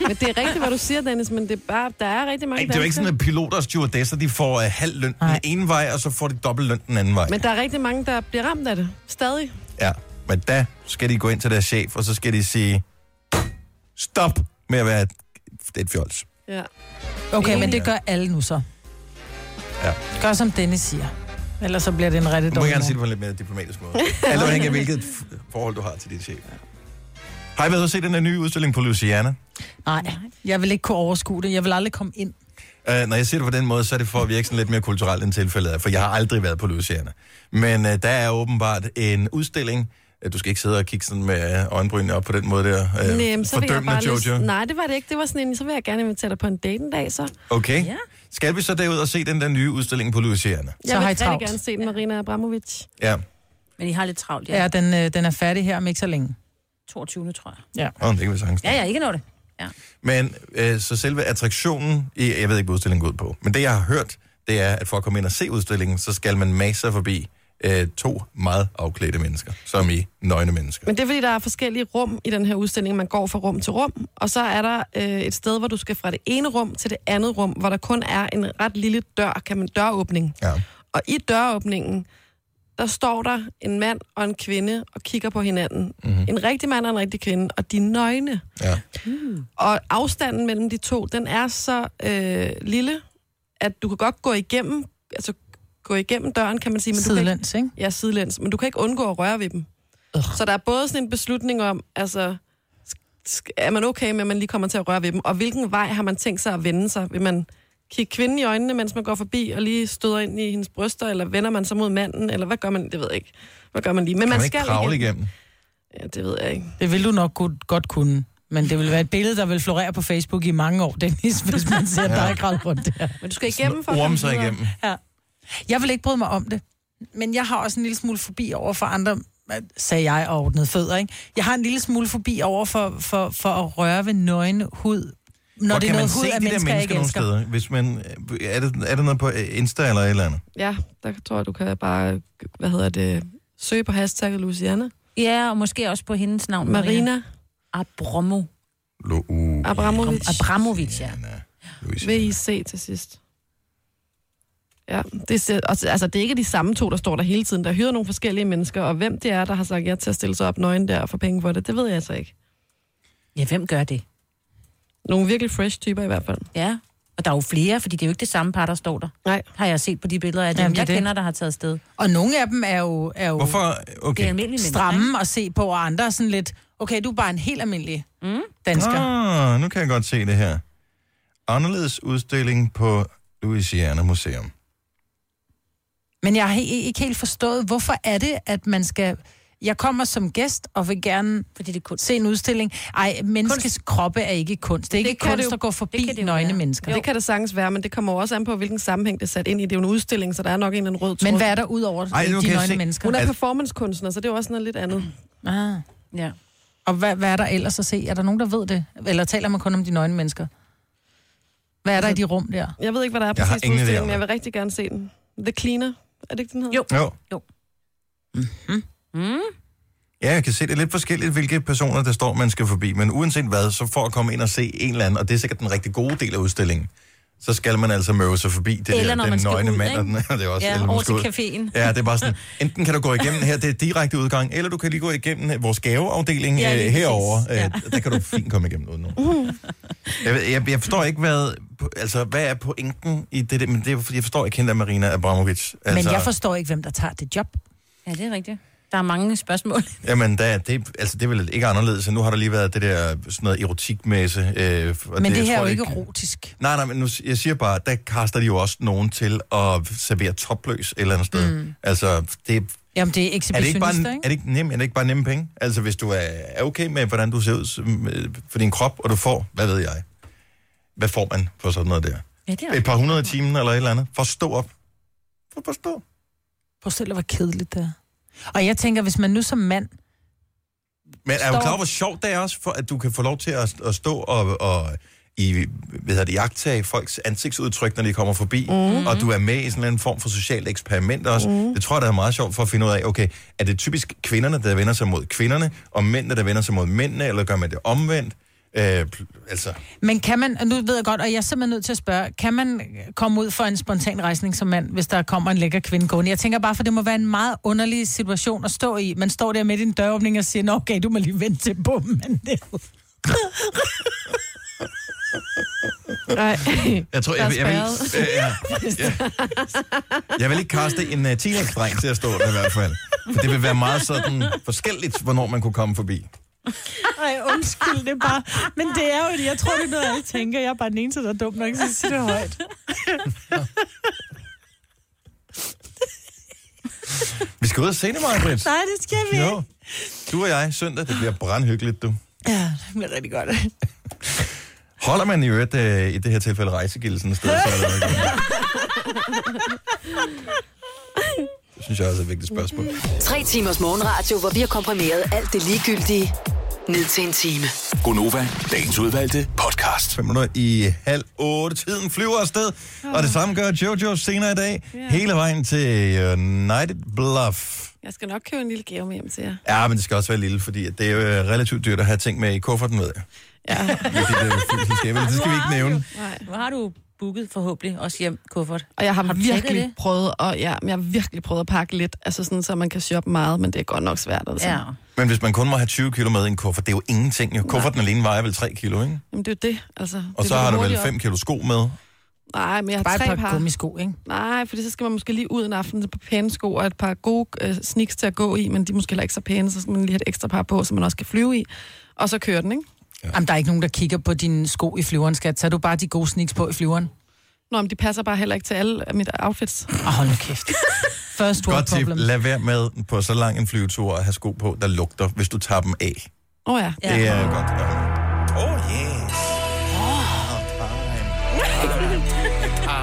S4: Men det er rigtigt, hvad du siger, Dennis, men det er bare, der er rigtig mange
S1: Ej, det er jo ikke sådan, at piloter og stewardesser, de får uh, halv løn den
S2: Nej.
S1: ene vej, og så får de dobbelt løn den anden vej.
S4: Men
S1: Men...
S4: der er rigtig mange, der bliver ramt af det. Stadig.
S1: Ja, men da skal de gå ind til deres chef, og så skal de sige, stop med at være et, det er et fjols.
S4: Ja.
S2: Okay, men det gør alle nu så.
S1: Ja.
S2: Gør som Dennis siger. Ellers så bliver det en rigtig
S1: Du må
S2: dårlig
S1: gerne sige det
S2: morgen.
S1: på en lidt mere diplomatisk måde. Alt afhængig af, hvilket f- forhold du har til din chef. Har I været ude at se den her nye udstilling på Louisiana?
S2: Nej, jeg vil ikke kunne overskue det. Jeg vil aldrig komme ind.
S1: Uh, når jeg siger det på den måde, så er det for at virke sådan lidt mere kulturelt end tilfældet er, for jeg har aldrig været på Louisiana. Men uh, der er åbenbart en udstilling. Uh, du skal ikke sidde og kigge sådan med øh, øjenbrynene op på den måde der. Uh,
S4: Næm, øhm, så vil jeg
S1: fordømmende,
S4: bare
S1: Jojo.
S4: lyst... Nej, det var det ikke. Det var sådan en, så vil jeg gerne invitere dig på en date en dag, så.
S1: Okay.
S3: Ja.
S1: Skal vi så derud og se den der nye udstilling på Louisiana?
S4: Jeg
S2: har I
S4: vil
S2: travlt.
S4: rigtig gerne se den, Marina Abramovic.
S1: Ja.
S3: Men I har lidt travlt, ja.
S2: Ja, den, øh, den er færdig her om ikke så længe.
S3: 22. tror jeg.
S2: Ja.
S1: Åh, oh, det kan vi sagtens.
S3: Ja, ja, ikke når det. Ja.
S1: Men øh, så selve attraktionen, i- jeg ved ikke, hvad udstillingen går ud på, men det, jeg har hørt, det er, at for at komme ind og se udstillingen, så skal man masse sig forbi øh, to meget afklædte mennesker, som i nøgne mennesker.
S4: Men det er, fordi der er forskellige rum i den her udstilling. Man går fra rum til rum, og så er der øh, et sted, hvor du skal fra det ene rum til det andet rum, hvor der kun er en ret lille dør, kan man døråbning.
S1: Ja.
S4: Og i døråbningen, der står der en mand og en kvinde og kigger på hinanden. Mm-hmm. En rigtig mand og en rigtig kvinde, og de er nøgne.
S1: ja.
S4: Og afstanden mellem de to, den er så øh, lille, at du kan godt gå igennem, altså gå igennem døren, kan man sige. Men du kan ikke,
S2: Sidelæns, ikke?
S4: ja, sidelæns, men du kan ikke undgå at røre ved dem.
S2: Ugh.
S4: Så der er både sådan en beslutning om, altså, sk- er man okay med, at man lige kommer til at røre ved dem, og hvilken vej har man tænkt sig at vende sig? Vil man kigge kvinden i øjnene, mens man går forbi, og lige støder ind i hendes bryster, eller vender man sig mod manden, eller hvad gør man? Det ved jeg ikke. Hvad gør man lige? Men
S1: Kan
S4: man,
S1: man ikke
S4: skal
S1: kravle igennem?
S4: Ja, det ved jeg ikke.
S2: Det vil du nok godt, godt kunne. Men det vil være et billede, der vil florere på Facebook i mange år, Dennis, *laughs* hvis man ser dig kravle rundt der.
S4: Men du skal igennem for at
S1: Orme
S4: komme
S1: sig
S4: videre.
S1: igennem.
S2: Jeg vil ikke bryde mig om det. Men jeg har også en lille smule forbi over for andre, øh, sagde jeg og ordnede fødder, ikke? Jeg har en lille smule forbi over for, for, for at røre ved nøgne hud. Når
S1: Hvor
S2: det er
S1: kan man
S2: noget
S1: se
S2: hud af
S1: de der
S2: mennesker, jeg ikke
S1: mennesker nogle
S2: elsker.
S1: steder? Hvis man, øh, er, det, er det noget på øh, Insta eller et eller andet?
S4: Ja, der tror jeg, du kan bare, hvad hedder det, søge på hashtagget Luciana.
S3: Ja, og måske også på hendes navn.
S4: Marina
S3: Abramo.
S1: Lo- uh,
S4: Abramovic.
S3: Abramovic, ja.
S1: Anna, Louise.
S4: VIC til sidst. Ja, det, ser- og, altså, det er ikke de samme to, der står der hele tiden. Der hyrer nogle forskellige mennesker, og hvem det er, der har sagt ja til at stille sig op nøgen der og få penge for det, det ved jeg altså ikke.
S3: Ja, hvem gør det?
S4: Nogle virkelig fresh typer i hvert fald.
S3: Ja. Og der er jo flere, fordi det er jo ikke det samme par, der står der.
S4: Nej.
S3: Har jeg set på de billeder af dem,
S2: Jamen,
S3: Jamen,
S2: det er
S3: jeg
S2: det.
S3: kender, der har taget sted. Det
S2: Og nogle af dem er jo, er jo
S1: Hvorfor?
S3: er
S1: Okay.
S3: almindelige mennesker, ikke?
S2: stramme at se på, og andre er sådan lidt, okay, du er bare en helt almindelig
S3: Mm.
S2: dansker.
S1: Ah, nu kan jeg godt se det her. Anderledes udstilling på Louisiana Museum.
S2: Men jeg har he- ikke helt forstået, hvorfor er det, at man skal... Jeg kommer som gæst og vil gerne
S3: Fordi det er kunst.
S2: se en udstilling. Ej, menneskes kunst. kroppe er ikke kunst. Det er ikke
S4: Det
S2: det
S4: kan det
S2: kunst
S4: jo-
S2: at gå
S3: det
S2: forbi
S3: kan det
S2: det
S3: jo
S2: nøgne
S3: være.
S2: mennesker.
S4: Jo. Det kan det sagtens være, men det kommer jo også an på, hvilken sammenhæng det er sat ind i. Det er jo en udstilling, så der er nok en eller anden rød tråd.
S2: Men hvad er der ud over
S1: Ej,
S2: Ej,
S1: nu kan
S2: de
S1: jeg
S2: nøgne
S1: se-
S2: mennesker?
S4: Hun er
S1: Al-
S4: performancekunstner, så det er jo også noget lidt andet.
S2: Ah.
S3: Ja.
S2: Og hvad, hvad er der ellers at se? Er der nogen, der ved det? Eller taler man kun om de nøgne mennesker? Hvad er der i de rum der?
S4: Jeg ved ikke, hvad der er
S1: Jeg har
S4: præcis på
S1: ingen idé om
S4: udstillingen, men
S1: det.
S4: jeg vil rigtig gerne se den. The Cleaner, er det ikke, den hedder?
S3: Jo.
S1: Jo.
S3: Mm.
S1: Ja, jeg kan se det er lidt forskelligt, hvilke personer, der står, man skal forbi. Men uanset hvad, så for at komme ind og se en eller anden, og det er sikkert den rigtig gode del af udstillingen, så skal man altså møve sig forbi det
S3: Eller
S1: der,
S3: når
S1: den
S3: man skal
S1: nøgne
S3: ud,
S1: mand. Og den, *laughs*
S3: ikke?
S1: det er også,
S3: Ja,
S1: Altså, eller man
S3: over
S1: skal
S3: til
S1: ud.
S3: caféen.
S1: Ja, det er bare sådan, enten kan du gå igennem her, det er direkte udgang, eller du kan lige gå igennem vores gaveafdeling
S3: Ja, lige
S1: ja, øh,
S3: præcis.
S1: herover. Ja.
S3: Ja. Uh.
S1: Øh, der kan du fint komme igennem uden nogen. Jeg, ved- jeg, jeg forstår ikke, hvad, altså, hvad er pointen i det der, men det, er, fordi jeg forstår ikke hende af Marina Abramovic. Altså,
S2: Altså... Men jeg forstår ikke, hvem der tager det job.
S3: ja, det er rigtigt. Der er mange spørgsmål. *laughs*
S1: Jamen, der, er- det, altså, det er vel ikke anderledes. end Nu har der lige været det der sådan noget erotikmæsse. Øh, og
S2: Men det, det
S1: jeg
S2: her er
S1: tror
S2: jo ikke
S1: ikke-
S2: erotisk.
S1: Nej, nej, men nu, jeg siger bare, der kaster de jo også nogen til at servere topløs et eller andet sted. Mm. Altså, det,
S2: Jamen, det er
S1: er, det
S2: ekshibitionister,
S1: ikke bare,
S2: ikke?
S1: er, det ikke nem, er det ikke bare nemme penge? Altså, hvis du er, er okay med, hvordan du ser ud som, øh, for din krop, og du får, hvad ved jeg, hvad får man for sådan noget der?
S3: Ja, det er
S1: Et par hundrede i timen eller et eller andet. Forstå op. For- Forstå.
S2: Prøv selv at være kedeligt der. Og jeg tænker, hvis man nu som mand...
S1: Men er du
S2: Står-
S1: klar over, hvor sjovt det er også, for, at du kan få lov til at, at stå og, og i, hvad hedder det, jagtage folks ansigtsudtryk, når de kommer forbi,
S4: Mhm.
S1: mm-hmm.
S3: Mm.
S1: og du er med i sådan en eller anden form for socialt eksperiment også. Mm-hmm. Det tror jeg, der er meget sjovt for at finde ud af, okay, er det typisk kvinderne, der vender sig mod kvinderne, og mændene, der vender sig mod mændene, eller gør man det omvendt? Øh, pl- altså,
S2: Men kan man, og nu ved jeg godt, og jeg er simpelthen nødt til at spørge, kan man komme ud for en spontan rejsning som mand, hvis der kommer en lækker kvinde gående? Jeg tænker bare, for det må være en meget underlig situation at stå i. Man står der midt i en døråbning og siger, Nå, okay, du må lige vente til bomben. Men det... er jo-
S4: Nej.
S1: Jeg tror,
S4: Der er
S1: jeg, jeg, jeg, vil, øh, ja, ja. jeg vil ikke kaste en uh, teenage-dreng til at stå der i hvert fald. For det vil være meget sådan forskelligt, hvornår man kunne komme forbi.
S2: Nej, undskyld, det er bare... Men det er jo det. Jeg tror, det er noget, alle tænker. Jeg er bare den eneste, der er dum nok, så jeg siger det højt.
S1: Vi skal ud og se det, Margrit.
S2: Nej, det skal vi ikke.
S1: Jo. Du og jeg, søndag, det bliver brandhyggeligt, du.
S2: Ja, det bliver rigtig godt.
S1: Holder man i øvrigt øh, i det her tilfælde rejsegilde sådan et sted, så er det rigtig godt. Det synes jeg også er et vigtigt spørgsmål.
S5: Tre timers morgenradio, hvor vi har komprimeret alt det ligegyldige ned til en time.
S6: Gonova, dagens udvalgte podcast.
S1: 5 minutter i halv otte. Tiden flyver afsted, og det samme gør Jojo senere i dag. Hele vejen til United Bluff.
S4: *laughs* Jeg skal nok købe en lille gave med hjem til jer.
S1: Ja, men det skal også være lille, fordi at det er jo øh, relativt dyrt at have ting med i kufferten, ved jeg.
S4: Ja.
S1: Fordi det, er jo flyselskab, eller det skal vi ikke nævne.
S4: Nej.
S3: Nu har du booket forhåbentlig også hjem kuffert.
S4: Og jeg har, har
S3: du tjekket
S4: virkelig
S3: det?
S4: prøvet, og ja, men jeg har virkelig prøvet at pakke lidt, altså sådan, så man kan shoppe meget, men det er godt nok svært. Altså.
S3: Ja.
S1: Men hvis man kun må have 20 kilo med i en kuffert, det er jo ingenting. Jo. Kufferten alene vejer vel 3 kilo, ikke?
S4: Jamen, det er jo det, altså.
S1: Og
S4: det
S1: så
S4: løber
S1: har du vel
S4: hurtigt op.
S1: 5 kilo sko med.
S4: Nej, men jeg har
S2: Bare
S4: tre
S2: et
S4: par.
S2: par gummisko, ikke?
S4: Nej, fordi så skal man måske lige ud en aften på pæne sko og et par gode øh, sneaks til at gå i, men de er måske heller ikke så pæne, så skal man lige have et ekstra par på, som man også kan flyve i. Og så kører den, ikke?
S2: Jamen, der er ikke nogen, der kigger på dine sko i flyveren, skat. Tag du bare de gode sneaks på i flyveren.
S4: Nå, men de passer bare heller ikke til alle mit outfits.
S2: Ah, hold nu kæft. First world
S1: Godt tip.
S2: problem.
S1: Lad være med på så lang en flyvetur at have sko på, der lugter, hvis du tager dem af.
S4: Åh oh, ja.
S3: Ja.
S1: Det er godt. Ja. Oh, yes. Oh, time. Oh, Time.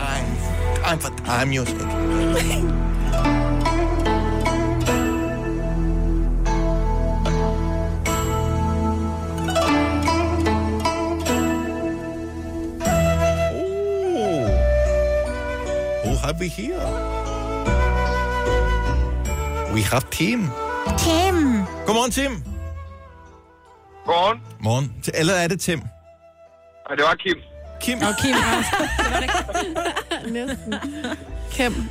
S1: Time. Time for time music. Oh. Who have we here? We have Tim.
S2: Tim!
S1: Godmorgen, Tim.
S8: Godmorgen.
S1: Morgen. Til- Eller er det Tim?
S8: Ja, det var Kim.
S1: Kim.
S2: Okay,
S4: Næsten. Kæm.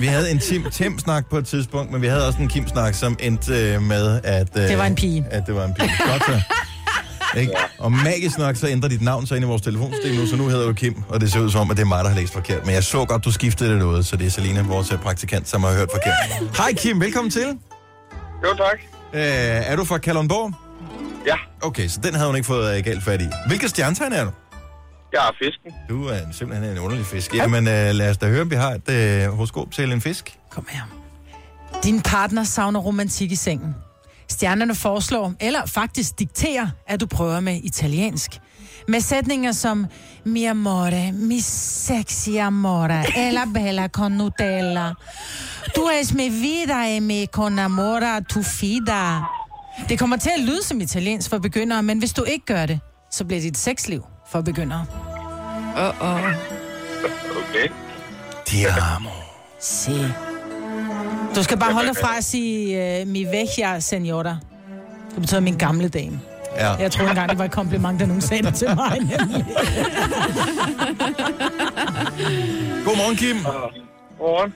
S1: Vi havde en Tim Tim snak på et tidspunkt, men vi havde også en Kim snak som endte øh, med at øh,
S2: Det var en pige.
S1: At det var en pige. Godt så. Ikke? Og magisk nok, så ændrer dit navn sig ind i vores telefonsystem nu, så nu hedder du Kim, og det ser ud som om, at det er mig, der har læst forkert. Men jeg så godt, du skiftede det noget, så det er Selina, vores øh, praktikant, som har hørt forkert. Hej Kim, velkommen til.
S8: Jo, tak.
S1: Øh, er du fra Kalundborg?
S8: Ja,
S1: Okay, så den havde hun ikke fået øh, galt fat i. Hvilket stjernetegn er du?
S8: jeg er fisken.
S1: Du er en- simpelthen en underlig fisk. Jamen, øh, lad os da høre, om vi har et øh, horoskop til en fisk.
S2: Kom her. Din partner savner romantik i sengen. Stjernerne foreslår, eller faktisk dikterer, at du prøver med italiensk. Med sætninger som Mi amore, mi sexy amore, ella bella con Nutella. Du es mi vida e mi con amore tu fida. Det kommer til at lyde som italiensk for begyndere, men hvis du ikke gør det, så bliver dit sexliv for begyndere.
S4: Åh, åh.
S8: Okay.
S1: Ti amo.
S2: Se. Du skal bare holde dig fra at sige uh, mi vecchia senora. Det betyder min gamle dame.
S1: Ja.
S2: Jeg troede engang, det var et kompliment, da nogen sagde det til mig. nemlig.
S1: Godmorgen, Kim.
S8: Godmorgen.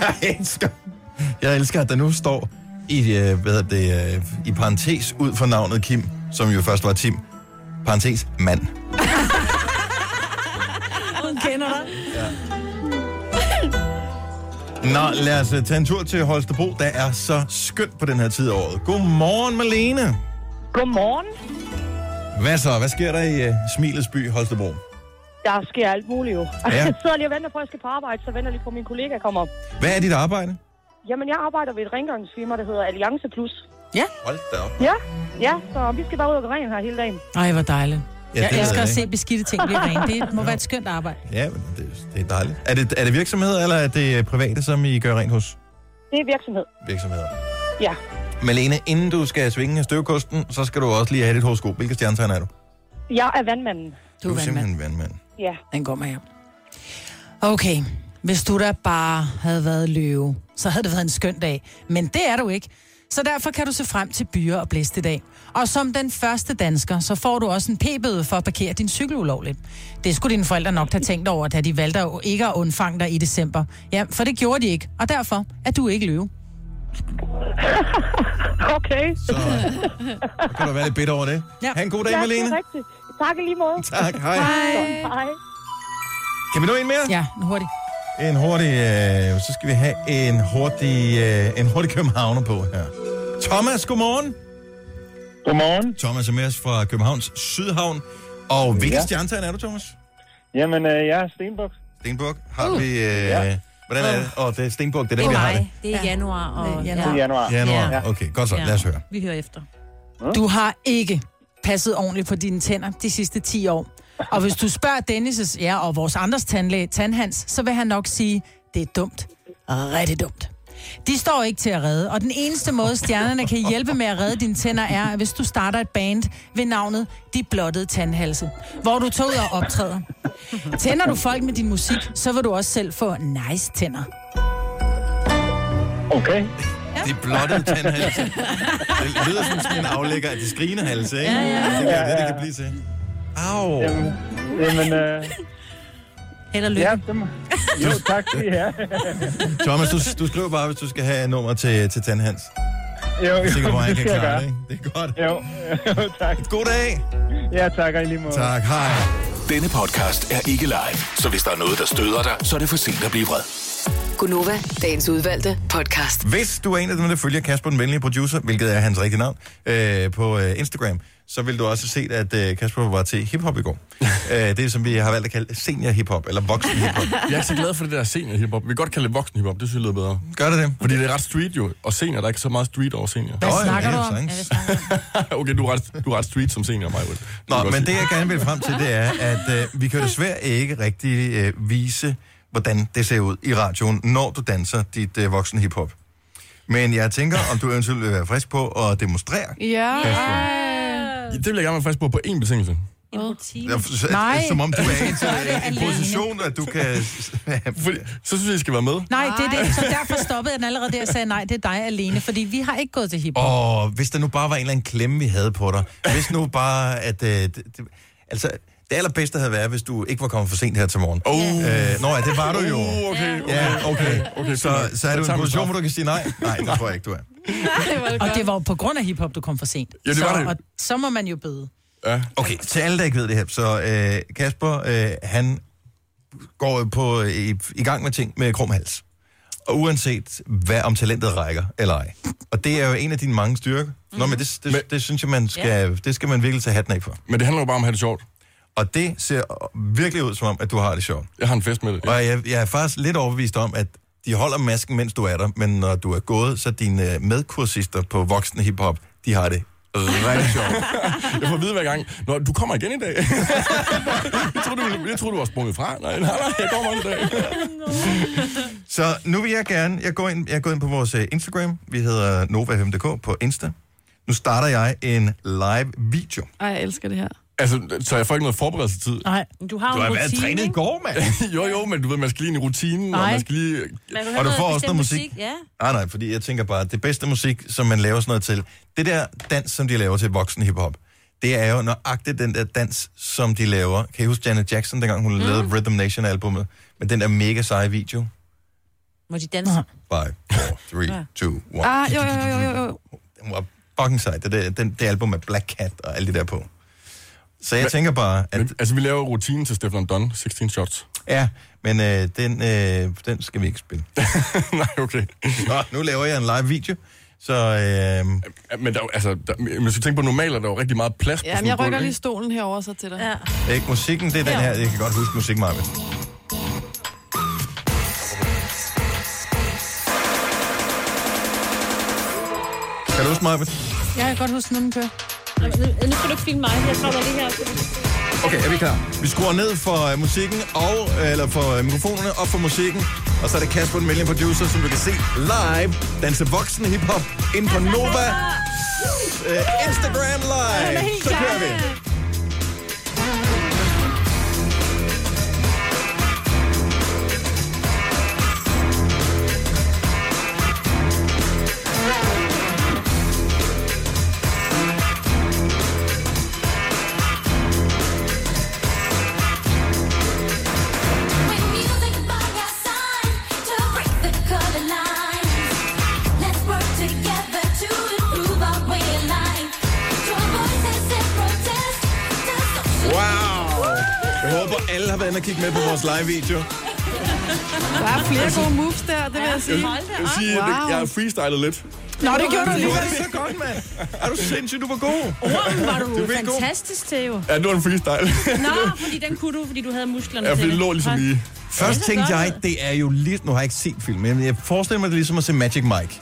S1: *laughs* Jeg elsker, jeg elsker at der nu står i, øh, hvad hedder det, øh, i parentes ud for navnet Kim, som jo først var Tim. Parentes, mand.
S2: *laughs* Hun kender dig.
S1: Nå, lad os øh, tage en tur til Holstebro. Der er så skønt på den her tid af året. Godmorgen, Malene.
S9: Godmorgen.
S1: Hvad så? Hvad sker der i uh, Smilets by, Holstebro?
S9: Der sker alt muligt jo.
S1: Ja.
S9: *laughs* Jeg sidder lige og venter på, at jeg skal på arbejde, så venter lige på, at min kollega kommer op.
S1: Hvad er dit arbejde?
S9: Jamen, jeg arbejder ved et rengøringsfirma, der hedder Alliance Plus.
S1: Hold da op.
S9: Ja, ja, så vi skal bare ud og rene her hele dagen.
S2: Ej, hvor dejligt.
S1: Ja,
S2: Jeg
S1: det ved
S2: elsker at
S1: ikke.
S2: se beskidte ting blive rene. *laughs* Det må være et skønt arbejde.
S1: Ja, men det, det er dejligt. Er det, er det virksomheder, eller er det øh, private, som I gør rent hos
S9: Det er virksomhed.
S1: virksomheder?
S9: Ja.
S1: Malene, inden du skal svinge støvkosten, så skal du også lige have dit horoskop. Hvilke stjernetegn er du?
S9: Jeg er vandmanden.
S2: Du er vandmand.
S1: simpelthen vandmand.
S9: Ja.
S2: Den går med hjem. Okay, hvis du da bare havde været løve, så havde det været en skøn dag. Men det er du ikke. Så derfor kan du se frem til byer og blæst i dag. Og som den første dansker, så får du også en p-bøde for at parkere din cykel ulovligt. Det skulle dine forældre nok have tænkt over, da de valgte at ikke at undfange dig i december. Ja, for det gjorde de ikke, og derfor er du ikke løve.
S9: Okay.
S1: Så, øh, så kan du være lidt bitter over det.
S2: Ja.
S1: Ha' en god dag,
S9: Ja, det
S1: Malene.
S9: er rigtigt. Tak i lige måde.
S1: Tak, hej.
S4: Hej.
S9: Hej.
S1: Kan vi nå en mere?
S2: Ja, nu hurtigt.
S1: En hurtig, øh, så skal vi have en hurtig, øh, en hurtig københavner på her. Thomas, godmorgen.
S8: Godmorgen.
S1: Thomas er med os fra Københavns Sydhavn. Og hvilken ja. stjernetegn er du, Thomas?
S8: Jamen, øh, jeg er Stenbuk.
S1: Stenbuk. Har uh. vi... Øh, ja.
S8: Ja.
S1: Hvordan er det? Åh, oh, det er Stenbuk, det er
S3: Det
S1: dem,
S3: er
S1: vi har det.
S3: mig. Det er i januar. Og,
S2: Det er
S3: ja.
S2: januar.
S8: I januar.
S1: Januar.
S3: Ja.
S1: Ja. Okay, godt så.
S3: Ja.
S1: Lad os høre.
S3: Vi hører efter.
S2: Du har ikke passet ordentligt på dine tænder de sidste 10 år. Og hvis du spørger Dennis' ja, og vores andres tandlæge, Tandhans, så vil han nok sige, det er dumt. Rigtig dumt. De står ikke til at redde, og den eneste måde, stjernerne kan hjælpe med at redde dine tænder, er, hvis du starter et band ved navnet De Blottede Tandhalse, hvor du tager ud og optræder. Tænder du folk med din musik, så vil du også selv få nice tænder.
S8: Okay.
S1: De blottede tandhalse. *laughs* Det lyder som sådan en aflægger af de skrigende halse, ikke? Ja, ja, ja. Det er det, det kan blive til. Au.
S8: Jamen, jamen øh,
S3: Held og lykke.
S8: ja, dem. Jo, tak til jer.
S1: Thomas, du, du skriver bare, hvis du skal have nummer til, til Tandhans.
S8: Jo,
S1: Jeg er sikker på,
S8: jo,
S1: at han
S8: det
S1: kan
S8: skal jeg
S1: klare
S8: gøre.
S1: det, ikke? Det er
S8: Jo, *laughs*
S1: godt.
S8: jo, tak.
S1: God dag.
S8: Ja, tak og i lige måde.
S1: Tak, hej.
S6: Denne podcast er ikke live, så hvis der er noget, der støder dig, så er det for sent at blive vred.
S5: Gunova, dagens udvalgte podcast.
S1: Hvis du er en af dem, der følger Kasper, den venlige producer, hvilket er hans rigtige navn, øh, på øh, Instagram, så vil du også have set, at øh, Kasper var til hiphop i
S2: *laughs*
S1: går. øh, det, som vi har valgt at kalde senior hiphop, eller voksen hiphop.
S10: Jeg er ikke så glad for det der senior hiphop. Vi kan godt kalde det voksen hiphop, det synes jeg lyder bedre.
S1: Gør det det?
S10: Fordi det er ret street jo, og senior, der er ikke så meget street over senior.
S2: Hvad
S1: Nå, ja,
S2: snakker
S1: ja,
S2: du om?
S1: sagtens.
S2: Ja, hvad snakker du
S10: *laughs*
S2: om?
S10: okay, du er, ret, du er ret street som senior, mig.
S1: Nå, men det jeg gerne vil frem til, det er, at øh, vi kan jo desværre ikke rigtig øh, vise, hvordan det ser ud i radioen, når du danser dit øh, voksen hiphop. Men jeg tænker, om du eventuelt vil være frisk på at demonstrere.
S4: Ja.
S10: Det vil jeg gerne være frisk på på én betingelse.
S3: En rutine.
S1: Ja, for- så-
S2: *laughs* Nej.
S1: Som om du er i
S2: Så er det
S1: en- en
S2: alene.
S1: position, at du
S2: *laughs*
S1: kan...
S10: Fordi, så synes jeg, I skal være med.
S2: Nej, det er det. Så derfor stoppede jeg den allerede der og sagde, nej, det er dig alene, fordi vi har ikke gået til hiphop. Oh.
S1: Og hvis der nu bare var en eller anden klemme, vi havde på dig. Hvis nu bare, at... Øh, det, det, altså, det allerbedste havde været, hvis du ikke var kommet for sent her til morgen.
S10: Oh.
S1: Øh, nå ja, det var du jo.
S10: Uh, okay, okay.
S1: Ja, okay.
S10: okay
S1: Så, så er du i en position, hvor
S10: du...
S1: du kan sige
S10: *laughs*
S1: nej? Nej, det tror jeg ikke, du er.
S4: Det var det
S2: Og
S4: godt.
S2: det var jo på grund af hiphop, du kom for sent.
S10: Ja, det
S2: så,
S10: var det.
S2: Og så må man jo bede.
S10: Ja.
S1: Okay, til alle, der ikke ved det her, så øh, Kasper, øh, han går på, øh, i, i gang med ting med krum hals. Og uanset hvad om talentet rækker eller ej. Og det er jo en af dine mange styrker. Nå, men det, det,
S10: Mhm. Men-
S1: det synes jeg, man skal, det skal man virkelig tage hatten af for.
S10: Men det handler jo bare om at have det sjovt.
S1: Og det ser virkelig ud som om, at du har det sjovt.
S10: Jeg har en fest med det.
S1: Og jeg, jeg er faktisk lidt overbevist om, at de holder masken, mens du er der, men når du er gået, så dine øh, medkursister på voksne hiphop, de har det rigtig sjovt.
S10: Jeg får at vide hver gang, Nå, du kommer igen i dag. *laughs* jeg, troede, du, ville- jeg troede, du var sprunget fra. Nej, nej, nej, jeg kommer i dag.
S1: Så nu vil jeg gerne, jeg går ind, jeg går ind på vores øh, Instagram, vi hedder NovaFM.dk på Insta. Nu starter jeg en live video.
S4: Ej, jeg elsker det her.
S10: altså, så jeg får ikke noget forberedelsestid.
S2: Nej.
S3: Du har jo en rutine, ikke?
S1: går, mand.
S10: *laughs* jo, jo, men du ved, man skal lige ind i rutinen, og
S2: Nej.
S10: man skal lige...
S3: Man vil
S1: Og
S3: have
S1: du får også
S3: bestemt
S1: noget musik.
S3: Ja.
S1: Nej, Ah, nej, fordi jeg tænker bare, at det bedste musik, som man laver sådan noget til, det der dans, som de laver til voksen hiphop, det er jo nøjagtigt den der dans, som de laver. Kan I huske Janet Jackson, dengang hun mm. lavede Rhythm Nation-albummet? Men den der mega seje video.
S3: Må de danse?
S1: 5, 4, 3, 2, 1.
S4: Ah, jo, jo, jo, jo, jo.
S1: Den var fucking sej. Det, der, den, det album med Black Cat og alt det der på. Så jeg men, tænker bare, at...
S10: Men, altså, vi laver rutinen til Stefan Don, 16 shots. *laughs*
S1: Ja, men øh, den, øh, den skal vi ikke spille.
S10: nej, okay.
S1: Nå, nu laver jeg en live video, så... Øh,
S10: Men der, er jo- altså, der, man skal tænke på, normalt er der jo rigtig meget plads på
S4: Jamen,
S10: sådan
S4: jeg
S10: en
S4: rykker
S10: gulv,
S4: lige stolen herover så til dig.
S3: Ja.
S1: Ikke musikken, det er den her. Jeg kan godt huske musik, Marvin. Kan du huske Marvin?
S2: Jeg kan godt huske, når den kører.
S9: Nu skal du ikke filme mig, jeg kommer lige her.
S1: Okay, er vi klar? Vi skruer ned for uh, musikken, og, eller for uh, mikrofonerne, op for musikken. Og så er det Kasper, den vælgende producer, som du kan se live. Danse voksen hiphop ind på Nova. Uh, Instagram live. Så kører vi.
S9: Let's work together to improve our way of life. Join voices
S10: Jeg håber, alle har været inde og kigge med på vores live-video.
S4: Der er flere gode moves der, det vil jeg sige.
S10: Jeg vil sige, at jeg har freestylet lidt.
S2: Nå, det gjorde du alligevel.
S10: Det er så godt, mand. Er du sindssyg, du var god.
S3: Ormen var
S10: Det
S3: du
S10: er virkelig god.
S3: fantastisk til, jo.
S10: Ja, det var en freestyle. *laughs*
S3: Nå, fordi den kunne du, fordi du havde musklerne
S10: Ja, for
S3: til
S10: det lå ligesom lige.
S1: Først
S3: Ja, det er
S1: tænkte
S3: godt.
S1: jeg, det er jo lige... Nu har jeg ikke set filmen, men jeg forestiller mig, det er ligesom at se Magic Mike.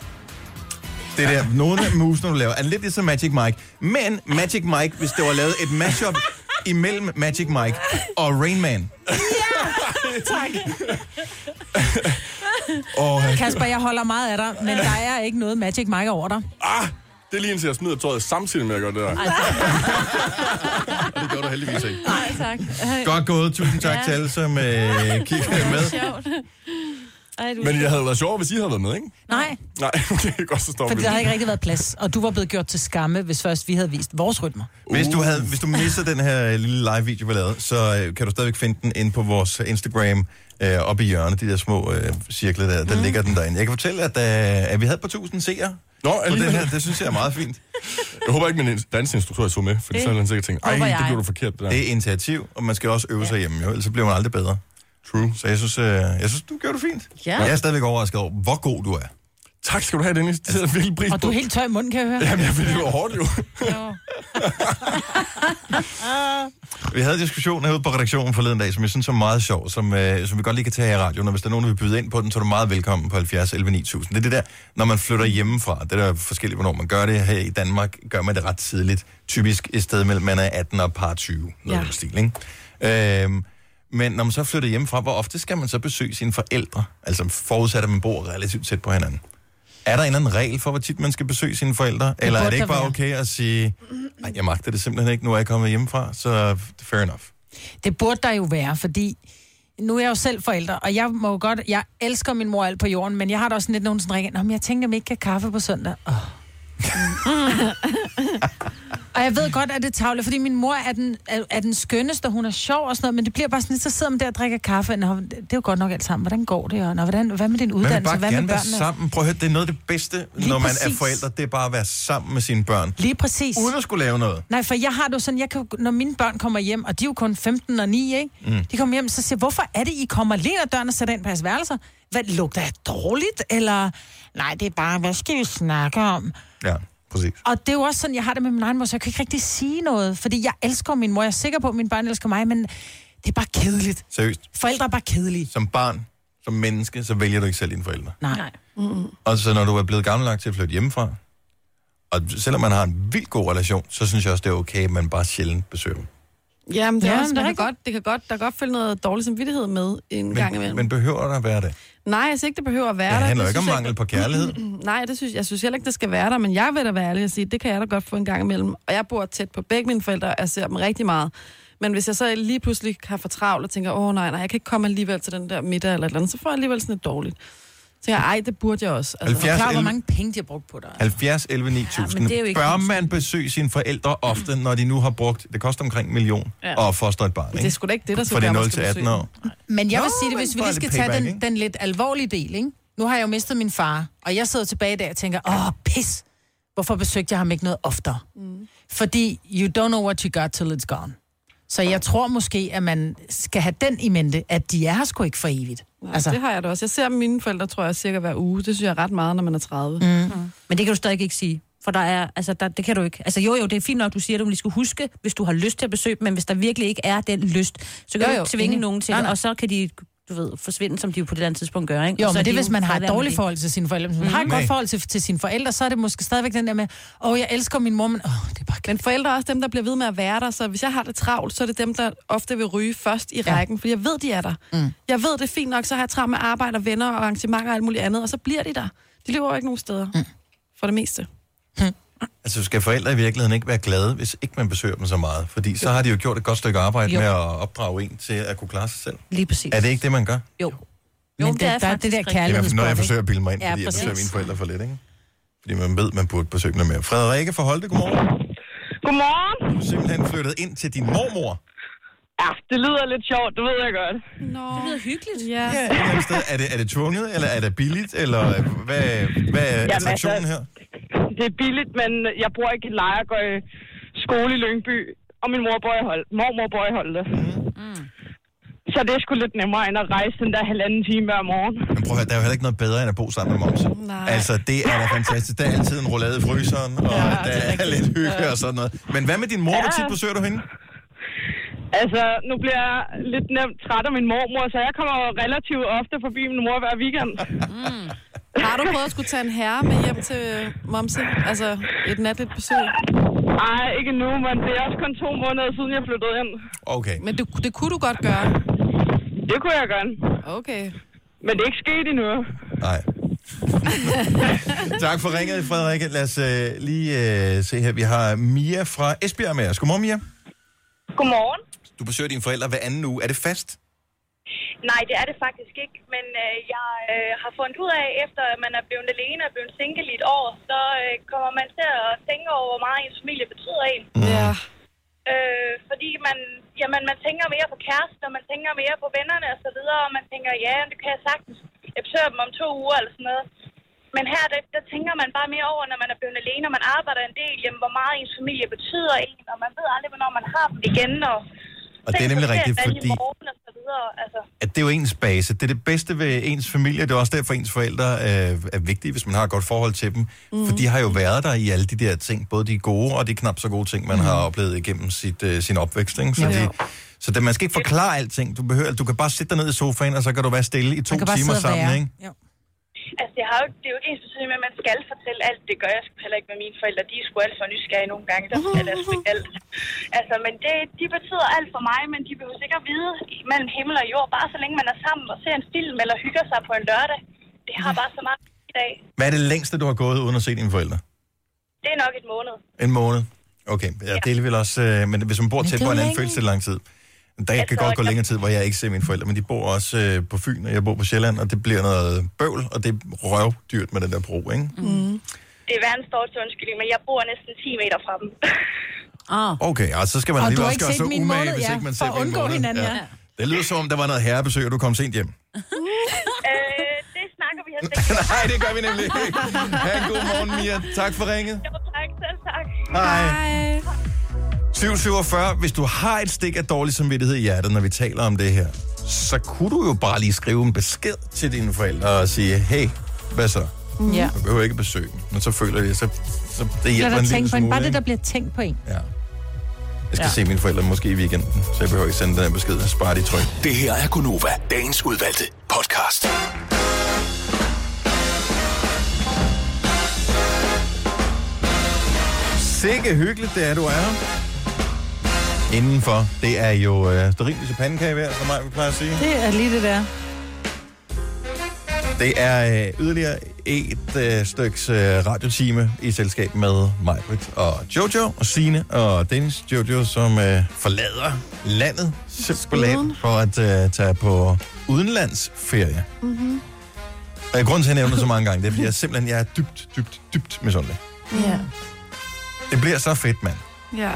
S1: Det der, nogle af musene, du laver, er lidt ligesom Magic Mike. Men Magic Mike, hvis det var lavet et mashup imellem Magic Mike og Rain Man.
S10: Åh,
S2: Kasper, jeg holder meget af dig, men der er ikke noget Magic Mike over dig.
S10: ah, det er lige indtil jeg smider tøjet samtidig med at gøre det der. Og *laughs* det gjorde du heldigvis ikke.
S3: Nej, tak. Ej,
S1: Godt gået. Tusind tak til alle, som øh, kiggede med.
S3: sjovt. Ej, du...
S10: Men jeg havde været sjovere, hvis I havde været med, ikke?
S2: Nej,
S10: Nej, *laughs* okay, godt, så stopper
S2: for
S10: vi.
S2: der havde ikke rigtig været plads. Og du var blevet gjort til skamme, hvis først vi havde vist vores rytmer.
S1: Hvis du, havde, hvis du missede den her øh, lille live-video, vi lavede, så øh, kan du stadigvæk finde den inde på vores Instagram øh, oppe i hjørnet, de der små øh, cirkler der, der ligger den derinde. Jeg kan fortælle, at, øh, at vi havde et par tusind seere
S10: Nå,
S1: på den
S10: alligevel.
S1: her. Det synes jeg er meget fint.
S10: Jeg håber ikke, min dansinstruktør så med, for så havde han sikkert tænkt, ej,
S3: håber
S10: det
S3: jeg.
S10: blev du forkert, det der.
S1: Det er initiativ, og man skal også øve sig hjemme, jo, ellers så bliver man aldrig bedre.
S10: True.
S1: Så jeg synes, øh, jeg synes du gjorde det fint.
S3: Ja.
S1: Jeg er stadigvæk overrasket over, hvor god du er.
S10: Tak skal du have, Dennis. Det sætter jeg virkelig pris
S2: Og du
S10: på.
S2: er helt tør i munden, kan jeg høre.
S10: Jamen, jeg ved, det var hårdt jo.
S1: Vi havde diskussionen herude på redaktionen forleden dag, som jeg synes er meget sjov, som, øh, som vi godt lige kan tage her i radioen, og hvis der er nogen, der vil byde ind på den, så er du meget velkommen på 70 11 9000. Det er det der, når man flytter hjemmefra, det er der forskelligt, hvornår man gør det. Her i Danmark gør man det ret tidligt, typisk et sted mellem, man er 18 og par 20, noget ja.
S4: Ja.
S1: den stil, ikke? Øhm, men når man så flytter hjemmefra, hvor ofte skal man så besøge sine forældre? Altså forudsat, at man bor relativt tæt på hinanden. Er der en eller anden regel for, hvor tit man skal besøge sine forældre? Eller er
S2: burde
S1: det ikke
S2: der
S1: bare
S2: være.
S1: okay at sige, nej, jeg magter det simpelthen ikke, nu er jeg kommet hjemmefra, så fair enough.
S2: Det burde der jo være, fordi nu er jeg jo selv forælder, og jeg må jo godt, jeg elsker min mor alt på jorden, men jeg har da også lidt nogen, som ringer, "Nå, men jeg tænker, om jeg ikke kan kaffe på søndag. Oh. og jeg ved godt, at det er tavle, fordi min mor er den, er, er den skønneste, og hun er sjov og sådan noget, men det bliver bare sådan lidt, så sidder man der og drikker kaffe, Nå, det er jo godt nok alt sammen, hvordan går det, og Nå, hvordan, hvad med din
S1: Man vil
S2: uddannelse,
S1: bare
S2: hvad med
S1: gerne være
S2: børnene?
S1: sammen. Prøv at høre, det er noget af det bedste, Lige
S2: Lige
S1: når man er
S2: præcis.
S1: forældre, det er bare at være sammen med sine børn.
S2: Lige præcis.
S1: Uden at skulle lave noget.
S2: Nej, for jeg har det jo sådan, jeg kan, jo- når mine børn kommer hjem, og de er jo kun 15 og 9, ikke? Mm. De kommer hjem, så siger jeg, hvorfor er det, I kommer lige ad døren og sætter ind på jeres værelser? Hvad, lugter jeg dårligt? Eller, nej, det er bare, hvad skal vi snakke om?
S1: Ja, præcis.
S2: Og det er jo også sådan, jeg har det med min egen mor, så jeg kan ikke rigtig sige noget, fordi jeg elsker min mor. Jeg er sikker på, at mine børn elsker mig, men det er bare kedeligt.
S1: Seriøst,
S2: Forældre er bare kedelige.
S1: som barn, som menneske, så vælger du ikke selv dine forældre.
S2: Nej.
S3: Nej.
S1: Og så når du er blevet gammel nok til at flytte hjemmefra, og selvom man har en vildt god relation, så synes jeg også, det er okay, at man bare sjældent besøger dem.
S4: Jamen, det er
S2: Ja,
S4: også,
S2: men det er
S4: man kan
S2: rigtigt.
S4: godt, det kan godt, der kan godt følge noget dårlig samvittighed med en gang
S1: Men,
S4: imellem.
S1: men behøver der at være det?
S4: Nej, jeg synes ikke, det behøver at være der.
S1: Det handler jo ikke om
S4: synes jeg
S1: mangel på kærlighed.
S4: *clears throat* Nej, det synes, jeg synes heller ikke, det skal være der, men jeg vil da være ærlig og sige, det kan jeg da godt få en gang imellem. Og jeg bor tæt på begge mine forældre, og jeg ser dem rigtig meget. Men hvis jeg så lige pludselig har for travlt og tænker, åh oh, nej, nej, jeg kan ikke komme alligevel til den der middag eller et eller andet, så får jeg alligevel sådan lidt dårligt. Så tænker jeg, ej, det burde jeg også. Altså,
S1: 70
S2: Klar, hvor
S1: 11
S2: mange penge de har brugt på dig.
S1: 70, 11, 9000.
S3: men det er jo ikke
S1: Bør
S3: kunst.
S1: man besøge sine forældre ofte, når de nu har brugt, det koster omkring en million, ja. at fostre et barn, ikke?
S4: det er sgu da ikke det, der skal
S1: For det er
S4: gøre, man
S1: 0
S4: skal
S1: til 18
S4: besøge
S1: år.
S2: Men jeg
S1: Nå,
S2: vil sige det,
S1: men
S2: hvis vi
S1: bare
S2: lige
S1: lidt
S2: skal
S1: payback,
S2: tage den,
S1: ikke?
S2: den lidt alvorlige del, ikke? Nu har jeg jo mistet min far, og jeg sidder tilbage i dag og tænker, åh, pis, hvorfor besøgte jeg ham ikke noget oftere? Mm. Fordi you don't know what you got till it's gone. Så jeg tror måske, at man skal have den i mente, at de er her sgu ikke for evigt.
S4: dem.
S2: altså,
S4: Altså. Det har jeg da også. Jeg ser mine forældre, tror jeg, cirka hver uge. Det synes jeg er ret meget, når man er 30. Mm.
S3: Men det kan du stadig ikke sige. For der er, altså, der, det kan du ikke. Altså jo, jo, det er fint nok, du siger det, men du skal huske, hvis du har lyst til at besøge dem, men hvis der virkelig ikke er den lyst, så kan
S2: Jo,
S3: jo, du
S2: jo,
S3: ikke tvinge
S2: enig.
S3: nogen til
S2: Nej,
S3: det,
S2: nej.
S3: og så kan de, du ved, forsvinde, som de jo på det andet tidspunkt gør, ikke?
S2: jo,
S3: og så
S2: men
S3: er
S2: det er,
S3: de
S2: hvis
S3: jo
S2: man har et
S3: fraværende med
S2: dårligt
S3: det.
S2: forhold til sine forældre. Hvis man har et
S1: Men-
S2: godt forhold til, til sine forældre, så er det måske stadigvæk den der med, åh, jeg elsker min mor, men åh, det er bare
S4: Men forældre er også dem, der bliver ved med at være der, så hvis jeg har det travlt, så er det dem, der ofte vil ryge først i rækken, fordi jeg ved, de er der. Mm. Jeg ved, det er fint nok, så har jeg travlt med arbejde og venner og arrangementer og alt muligt andet, og så bliver de der. De lever jo ikke nogen steder, mm. for det meste.
S1: Altså, skal forældre i virkeligheden ikke være glade, hvis ikke man besøger dem så meget? Fordi så har de jo gjort et godt stykke arbejde jo.
S3: Jo.
S1: med at opdrage en til at kunne klare sig selv.
S3: Lige præcis.
S1: Er det ikke det, man gør? Det
S3: Jo.
S2: Men det- der er det der
S1: er i hvert fald noget, jeg
S2: Kærlighedsbånd,
S1: forsøger at bilde mig ind,
S3: Ja,
S1: fordi jeg
S3: præcis.
S1: besøger mine forældre for lidt, ikke? Fordi man ved, man burde besøge dem mere. Frederikke fra Holte, godmorgen.
S7: Godmorgen.
S1: Du er simpelthen flyttet ind til din mormor.
S7: Ja, det lyder lidt sjovt, det ved jeg godt.
S4: Nå,
S3: Det er hyggeligt.
S4: ja.
S1: Ja, et eller andet sted. Er det, er det tvunget, eller er det billigt, eller hvad, hvad er
S7: altså-
S1: attraktionen her?
S7: Det er billigt, men jeg bor ikke i leje og går i skole i Lyngby, og min mor bor i Holte. Mormor bor i Holte. Mm.
S9: Så det er sgu lidt nemmere end at rejse den der halvanden time hver morgen.
S1: Men prøv at høre, der er jo heller ikke noget bedre end at bo sammen med momse.
S9: Nej.
S1: Altså, det er da fantastisk. Der er altid en roulade i fryseren, og ja, der er, lidt hygge ja. og sådan noget. Men hvad med din mor? Hvor
S9: Ja.
S1: tit besøger du hende?
S9: Altså, nu bliver jeg lidt nemt træt af min mormor, så jeg kommer jo relativt ofte forbi min mor hver weekend. Mm.
S4: Har du prøvet at skulle tage en herre med hjem til momse? Altså et natligt besøg?
S9: Nej, ikke nu, men det er også kun to måneder siden, jeg flyttede ind.
S1: Okay.
S4: Men du, det kunne du godt gøre.
S9: Det kunne jeg godt.
S4: Okay.
S9: Men det er ikke sket endnu.
S1: *laughs* Nej. tak for ringet, Frederikke. Lad os øh, lige øh, se her. Vi har Mia fra Esbjerg med os. Godmorgen, Mia.
S11: Godmorgen.
S1: Du besøger dine forældre hver anden uge. Er det fast?
S11: Nej, det er det faktisk ikke, men øh, jeg øh, har fundet ud af, efter at man er blevet alene og blevet single i et år, så øh, kommer man til at tænke over, hvor meget ens familie betyder en.
S4: Ja.
S11: Øh, fordi man, jamen, man tænker mere på kæresten, og man tænker mere på vennerne og så videre, og man tænker, ja, det kan jeg sagtens. Jeg besøger dem om to uger eller sådan noget. Men her, der, der tænker man bare mere over, når man er blevet alene, og man arbejder en del, jamen, hvor meget ens familie betyder en, og man ved aldrig, hvornår man har dem igen. Og,
S1: Og det er nemlig rigtigt,
S11: I
S1: fordi-
S11: morgen og så videre, altså.
S1: At det er jo ens base. Det er det bedste ved ens familie. Det er også derfor, ens forældre øh, er vigtige, hvis man har et godt forhold til dem. Mm-hmm. For de har jo været der i alle de der ting. Både de gode og de knap så gode ting, man mm-hmm. har oplevet igennem sit, øh, sin opvækst. Ikke? Så,
S12: Jo.
S1: de, så det, man skal ikke forklare alting. Du, behøver, du kan bare sidde dig ned i sofaen, og så kan du være stille i to timer sammen. Ikke?
S11: Altså, det, har jo, det er jo ikke ens betydning med, at man skal fortælle alt. Det gør jeg sgu heller ikke med mine forældre. De er sgu alt for nysgerrige nogle gange. Der fortæller jeg sgu ikke alt. Altså, men det, de betyder alt for mig, men de behøver sikkert at vide mellem himmel og jord, bare så længe man er sammen og ser en film eller hygger sig på en lørdag. Det har bare så meget i dag.
S1: Hvad er det længste, du har gået uden at se dine forældre?
S11: Det er nok et måned.
S1: En måned? Okay, ja, det er vel også... Øh, men hvis man bor
S11: Men
S1: tæt
S11: det er
S1: på hinanden,
S11: længe.
S1: føles det lang tid. Der jeg kan
S11: Altså,
S1: godt gå
S11: jeg-
S1: længere tid, hvor jeg ikke ser mine forældre, men de bor også øh, på Fyn, og jeg bor på Sjælland, og det bliver noget bøvl, og det er røvdyrt med den der bro, ikke?
S11: Mm. Det er verdens største undskyldning, men jeg bor næsten 10 meter fra dem. *laughs*
S3: Ah.
S1: Okay, og så skal man
S11: Og du
S1: alligevel
S11: har
S1: også
S11: ikke
S1: gøre
S11: set
S1: sig
S11: min
S1: umage,
S11: måned,
S1: hvis
S11: ja,
S1: ikke man
S11: for
S1: ser
S11: at
S1: min
S11: undgå
S1: måned.
S11: hinanden, ja.
S1: Det lyder som om, der var noget herrebesøg, og du kom
S11: *laughs*
S1: sent hjem.
S11: øh, det snakker vi her
S1: Nej, det gør vi nemlig ikke. Ha' en god morgen, Mia. Tak for ringet.
S11: Jo, tak. Selv tak.
S1: Hej. 747, hvis du har et stik af dårlig samvittighed i hjertet, når vi taler om det her, så kunne du jo bare lige skrive en besked til dine forældre og sige, hey, hvad så?
S2: Ja.
S1: Du behøver ikke besøge dem, men så føler jeg, så, så det
S2: Lad
S1: hjælper
S2: dig
S1: en
S2: tænke
S1: lille
S2: på en.
S1: smule.
S2: Bare det,
S1: ikke?
S2: der bliver tænkt på en.
S1: Ja. Jeg skal
S2: Ja.
S1: ja. se mine forældre måske i weekenden, så jeg behøver ikke sende den her besked. Spar de tryk.
S6: Det her er Gunova, dagens udvalgte podcast.
S1: Sikke hyggeligt, det er, du er her. Indenfor, det er jo øh, sterilvis og pandekage værd, som mig vil pleje at sige.
S2: Det er lige det der.
S1: Det er øh, yderligere et øh, styks øh, radiotime i selskab med Majbrit og Jojo og Sine og Dennis Jojo, som øh, forlader landet simpelthen for at øh, tage på udenlandsferie.
S13: Mm-hmm.
S1: Og grunden til, at jeg nævner det så mange gange, det er, fordi jeg simpelthen jeg er dybt, dybt, dybt misundelig.
S4: Ja.
S1: Det bliver så fedt, mand.
S4: Ja.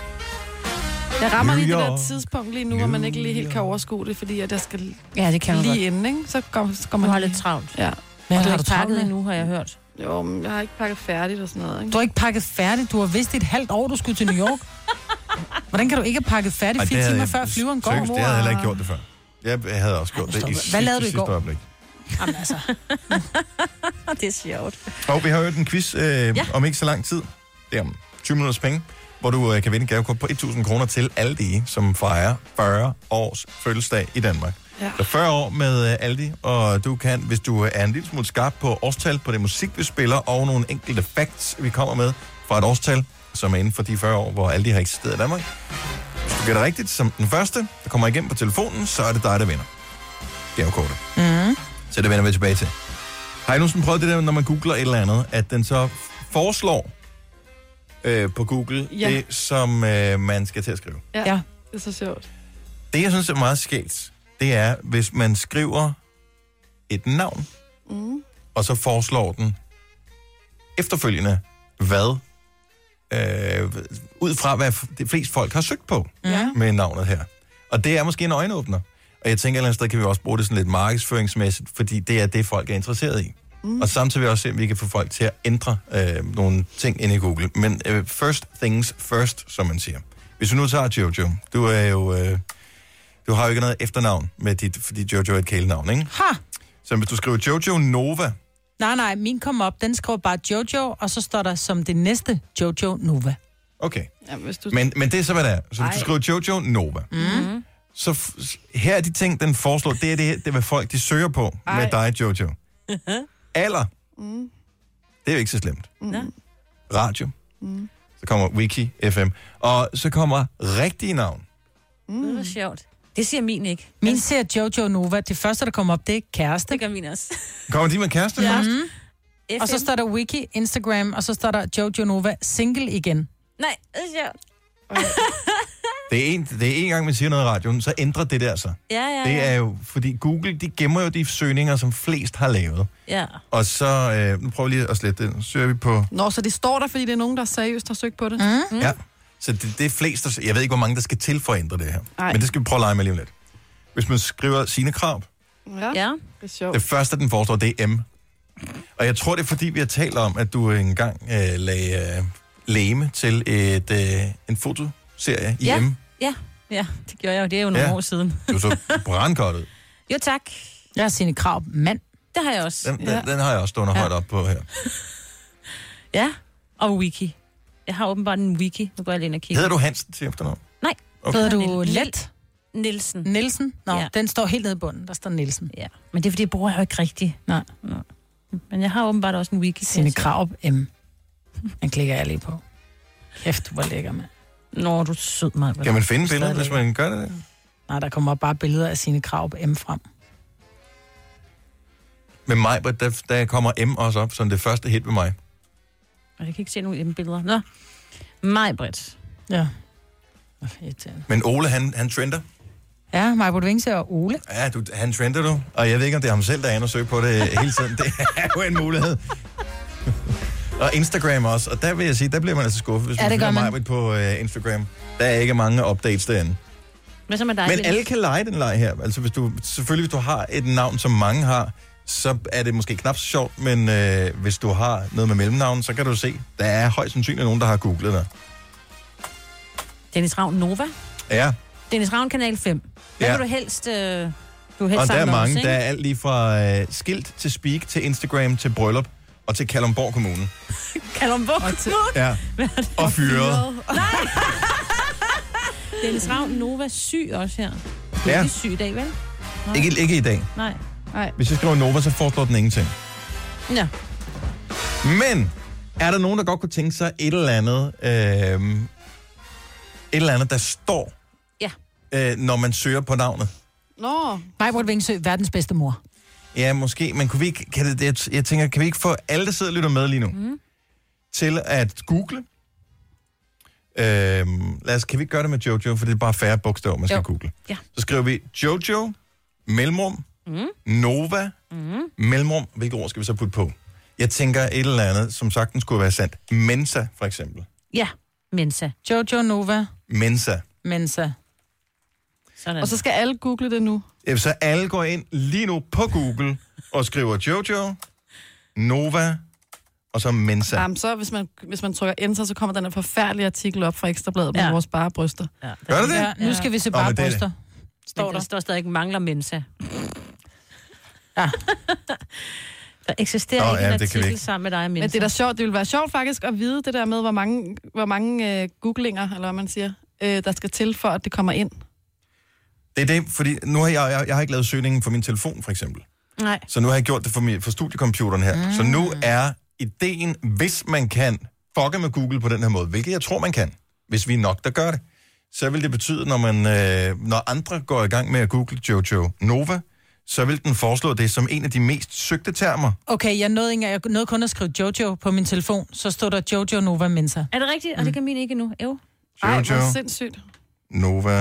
S4: Jeg rammer lige det
S1: Nyere.
S4: der tidspunkt lige nu, hvor man ikke lige helt kan overskue det, fordi at jeg skal
S3: Ja, det kan man
S4: lige
S3: godt.
S4: inden, ikke? Så går, så går man
S3: Du har
S4: lige-
S3: lidt travlt.
S4: Ja.
S3: Men har
S4: Og du
S3: du ikke
S4: har travlt
S3: pakket
S4: med?
S3: endnu, har jeg hørt.
S4: Jo, men jeg har ikke pakket færdigt og sådan noget, ikke?
S2: Du har ikke pakket færdigt. Du har vidst i et halvt år, du skulle til New *laughs* York. Hvordan kan du ikke have pakket
S1: Ej,
S2: færdigt
S1: det
S2: fire
S1: havde
S2: timer
S1: jeg
S2: før flyveren går?
S1: seriøst,
S2: mor?
S1: Det havde jeg heller ikke gjort det før. Jeg jeg havde også gjort det i
S2: stop.
S1: sidste,
S2: Hvad lavede du i
S1: sidste
S2: går?
S1: øjeblik.
S2: Jamen altså.
S3: det er sjovt.
S1: Og vi har jo en quiz øh, ja. om ikke så lang tid. Det er om 20 minutters penge, hvor du øh, kan vinde et gavekort på 1.000 kroner til Aldi, som fejrer 40 års fødselsdag i Danmark.
S4: Ja.
S1: Så 40 år med øh, Aldi, og du kan, hvis du øh, er en lille smule skarp på årstal, på det musik, vi spiller, og nogle enkelte facts, vi kommer med fra et årstal, som er inden for de 40 år, hvor Aldi har eksisteret i Danmark. Hvis du gætter rigtigt som den første, der kommer igennem på telefonen, så er det dig, der vinder. Gavekortet.
S2: Mm.
S1: Så det vender vi tilbage til. Har I nogensinde prøvet det der, når man googler et eller andet, at den så foreslår øh, på Google
S4: Ja.
S1: ja. det, som øh, man skal til at skrive?
S4: Ja. ja. Det er så sjovt.
S1: Det, jeg synes er meget skægt, det er, hvis man skriver et navn,
S4: Mm.
S1: og så foreslår den efterfølgende, hvad øh, ud fra, hvad f- de fleste folk har søgt på
S13: Ja.
S1: med navnet her. Og det er måske en øjenåbner. Og jeg tænker, et eller andet sted kan vi også bruge det sådan lidt markedsføringsmæssigt, fordi det er det, folk er interesseret i. Mm. Og samtidig vil jeg også se, om vi kan få folk til at ændre øh, nogle ting inde i Google. Men øh, first things first, som man siger. Hvis vi nu tager Jojo, du er jo... Øh, Du har jo ikke noget efternavn med dit, fordi Jojo er et kælenavn, ikke?
S2: Ha!
S1: Så hvis du skriver Jojo Nova,
S2: Nej, nej, min kom op, den skriver bare Jojo, og så står der som det næste Jojo Nova.
S1: okay.
S4: Ja, hvis du...
S1: Men, men det er så, hvad det er. Så hvis du skriver Jojo Nova,
S2: Mm.
S1: så f- her er de ting, den foreslår. Det er det, det er, hvad folk de søger på Ej. med dig, Jojo. Alder.
S4: Mm.
S1: Det er jo ikke så slemt.
S3: Mm.
S1: Radio.
S3: Mm.
S1: Så kommer Wiki FM. Og så kommer rigtige navn.
S3: Mm. Det var sjovt. Det siger min ikke.
S2: Min ser Jojo Nova. Det første, der kommer op, det er kæreste.
S3: Det gør min også.
S1: Kommer de med kæreste
S2: *laughs* Ja.
S1: først?
S2: Mm. Og så står der Wiki, Instagram, og så står der Jojo Nova single igen.
S3: Nej, det er sjovt.
S1: Det er, en, det er en gang, man siger noget i radioen, så ændrer det der sig.
S3: Ja, ja, ja.
S1: Det er jo, fordi Google, de gemmer jo de søgninger, som flest har lavet.
S3: Ja.
S1: Og så, øh, nu prøver vi lige at slette det. Nu søger vi på...
S4: Nå, så det står der, fordi det er nogen, der seriøst har søgt på det.
S1: Mm. Ja. Så det, det er flest, der, jeg ved ikke, hvor mange, der skal til for at ændre det her.
S4: Ej.
S1: Ej. Men det skal vi prøve at lege med lige om lidt. Hvis man skriver sine krav,
S4: Ja.
S3: ja.
S4: Det er sjovt.
S1: det første, den foreslår, det er M. Og jeg tror, det er fordi, vi har talt om, at du engang øh, lagde øh, læme til et, øh, en fotoserie i
S3: ja.
S1: M.
S3: Ja, ja, det gjorde jeg jo. Det er jo nogle
S1: Ja.
S3: år siden.
S1: Du så brandgodt ud.
S3: Jo, tak.
S2: Jeg har sine krav. Mand.
S3: Det har jeg også.
S1: Den, den, ja. den har jeg også stående ja. højt op på her.
S3: Ja, og wiki. Jeg har åbenbart en wiki. Nu går jeg lige ind og kigger.
S1: Hedder du Hansen til efternavn?
S3: Nej.
S1: Okay.
S2: Hedder du Let?
S3: Nielsen.
S2: Nielsen? Nå,
S3: Ja.
S2: ja. den står helt nede i bunden. Der står Nielsen.
S3: Ja. Men det er, fordi jeg bruger jeg jo ikke rigtigt.
S2: Nej.
S3: Men jeg har åbenbart også en wiki.
S2: Sine krav M. Den klikker jeg lige på. Kæft, hvor lækker, mand.
S3: Nå, du er sød, mig.
S1: Kan man finde billedet, hvis man gør det?
S2: Nej, der kommer bare billeder af sine krav M frem.
S1: Med mig, but der, der kommer M også op som det første hit med mig.
S3: Og jeg kan ikke se nogen af dem billeder. Nå. Mig, Britt.
S2: Ja. Åh, irriterende.
S1: Men Ole, han, han trender.
S2: Ja, Majbert Vingse og Ole.
S1: Ja, du, han trender du. Og jeg ved ikke, om det er ham selv, der er inde og søge på det hele tiden. Det er jo en mulighed. *laughs* og Instagram også. Og der vil jeg sige, der bliver man altså skuffet, hvis
S2: Ja,
S1: man
S2: det gør
S1: finder
S2: man.
S1: mig på uh, Instagram. Der er ikke mange updates derinde.
S3: Hvad så med dig?
S1: Men
S3: Dennis?
S1: alle kan lege den leg her. Altså, hvis du, selvfølgelig, hvis du har et navn, som mange har, så er det måske knap så sjovt, men øh, hvis du har noget med mellemnavn, så kan du se, der er højst sandsynligt nogen, der har googlet dig.
S3: Dennis Ravn Nova.
S1: Ja,
S3: Dennis Ravn Kanal 5.
S1: Ja.
S3: Hvad ja. vil du helst... Øh, du vil helst
S1: og der er
S3: samle med
S1: mange.
S3: os, ikke?
S1: der er alt lige fra øh, skilt til speak, til Instagram, til bryllup, og til Kalumborg Kommune.
S3: Kalumborg.
S1: Ja. Og fyret.
S3: Nej! Dennis Ravn Nova er syg også her. Du er
S1: Ja.
S3: ikke syg i dag, vel? Nej.
S1: Ikke, ikke i dag.
S3: Nej.
S4: Nej.
S1: Hvis jeg skriver Nova, så foreslår den ingenting.
S3: Ja.
S1: Men er der nogen, der godt kunne tænke sig et eller andet, øh, et eller andet der står,
S3: Ja.
S1: øh, når man søger på navnet?
S4: Nå.
S2: Majbert Vingsø, verdens bedste mor.
S1: Ja, måske, men kunne vi ikke, kan det, jeg, jeg tænker, kan vi ikke få alle, der sidder og lytter med lige nu, mm. til at google? Øhm, lad os, kan vi ikke gøre det med Jojo, for det er bare færre bogstaver, man skal
S3: Jo.
S1: google.
S3: Ja.
S1: Så skriver vi Jojo, mellemrum,
S3: Mm.
S1: Nova,
S3: Mm.
S1: mellemrum. Hvilke ord skal vi så putte på? Jeg tænker et eller andet, som sagtens skulle være sandt. Mensa, for eksempel.
S3: Ja. Mensa.
S2: Jojo Nova,
S1: Mensa.
S2: Mensa.
S3: Sådan.
S4: Og så skal alle google det nu.
S1: Ja, Så alle går ind lige nu på Google og skriver Jojo, Nova, og så Mensa.
S4: Jamen, så hvis man, hvis man trykker enter, så kommer den her forfærdelige artikel op fra Ekstrabladet med
S3: Ja.
S4: vores bare bryster.
S3: Ja,
S1: Gør det det?
S2: Ja, nu skal vi se
S1: Nå,
S2: bare
S1: men det er det.
S2: bryster.
S3: står der. Der står stadig, mangler mensa.
S2: Ja.
S3: *laughs* der eksisterer
S1: Nå,
S3: oh, ikke
S1: ja,
S3: en
S1: det kan vi
S3: artikel
S1: ikke.
S3: sammen med dig og mensa.
S4: Men det er da sjovt. Det ville være sjovt faktisk at vide det der med, hvor mange, hvor mange øh, googlinger, eller hvad man siger, øh, der skal til, for at det kommer ind.
S1: Det er det, fordi nu har jeg, jeg, jeg har ikke lavet søgningen for min telefon, for eksempel.
S3: Nej.
S1: Så nu har jeg gjort det for, min, for studiecomputeren her. Mm. Så nu er ideen, hvis man kan fucke med Google på den her måde, hvilket jeg tror, man kan, hvis vi er nok, der gør det, så vil det betyde, når, man, øh, når andre går i gang med at google Jojo Nova, så vil den foreslå det som en af de mest søgte termer.
S2: Okay, jeg nåede, ikke, jeg nåede kun at skrive Jojo på min telefon, så stod der Jojo Nova Mensa.
S3: Er det rigtigt? Og
S1: Mm.
S3: det kan min ikke endnu. Jo.
S4: Ej,
S1: Jojo
S4: hvor sindssygt.
S1: Nova.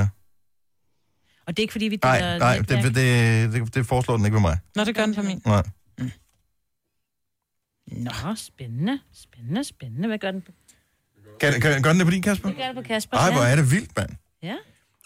S3: Og det er ikke, fordi vi
S1: Nej,
S3: deler
S1: nej,
S3: netværk.
S1: det, det, det, det foreslår den ikke ved mig.
S2: Nå, det gør den for min.
S1: Nej.
S3: Nå, spændende. Spændende, spændende. Hvad gør den?
S1: Kan, kan, gør den det på din, Kasper?
S3: Det gør det på Kasper.
S1: Ej, hvor er det vildt, mand.
S3: Ja.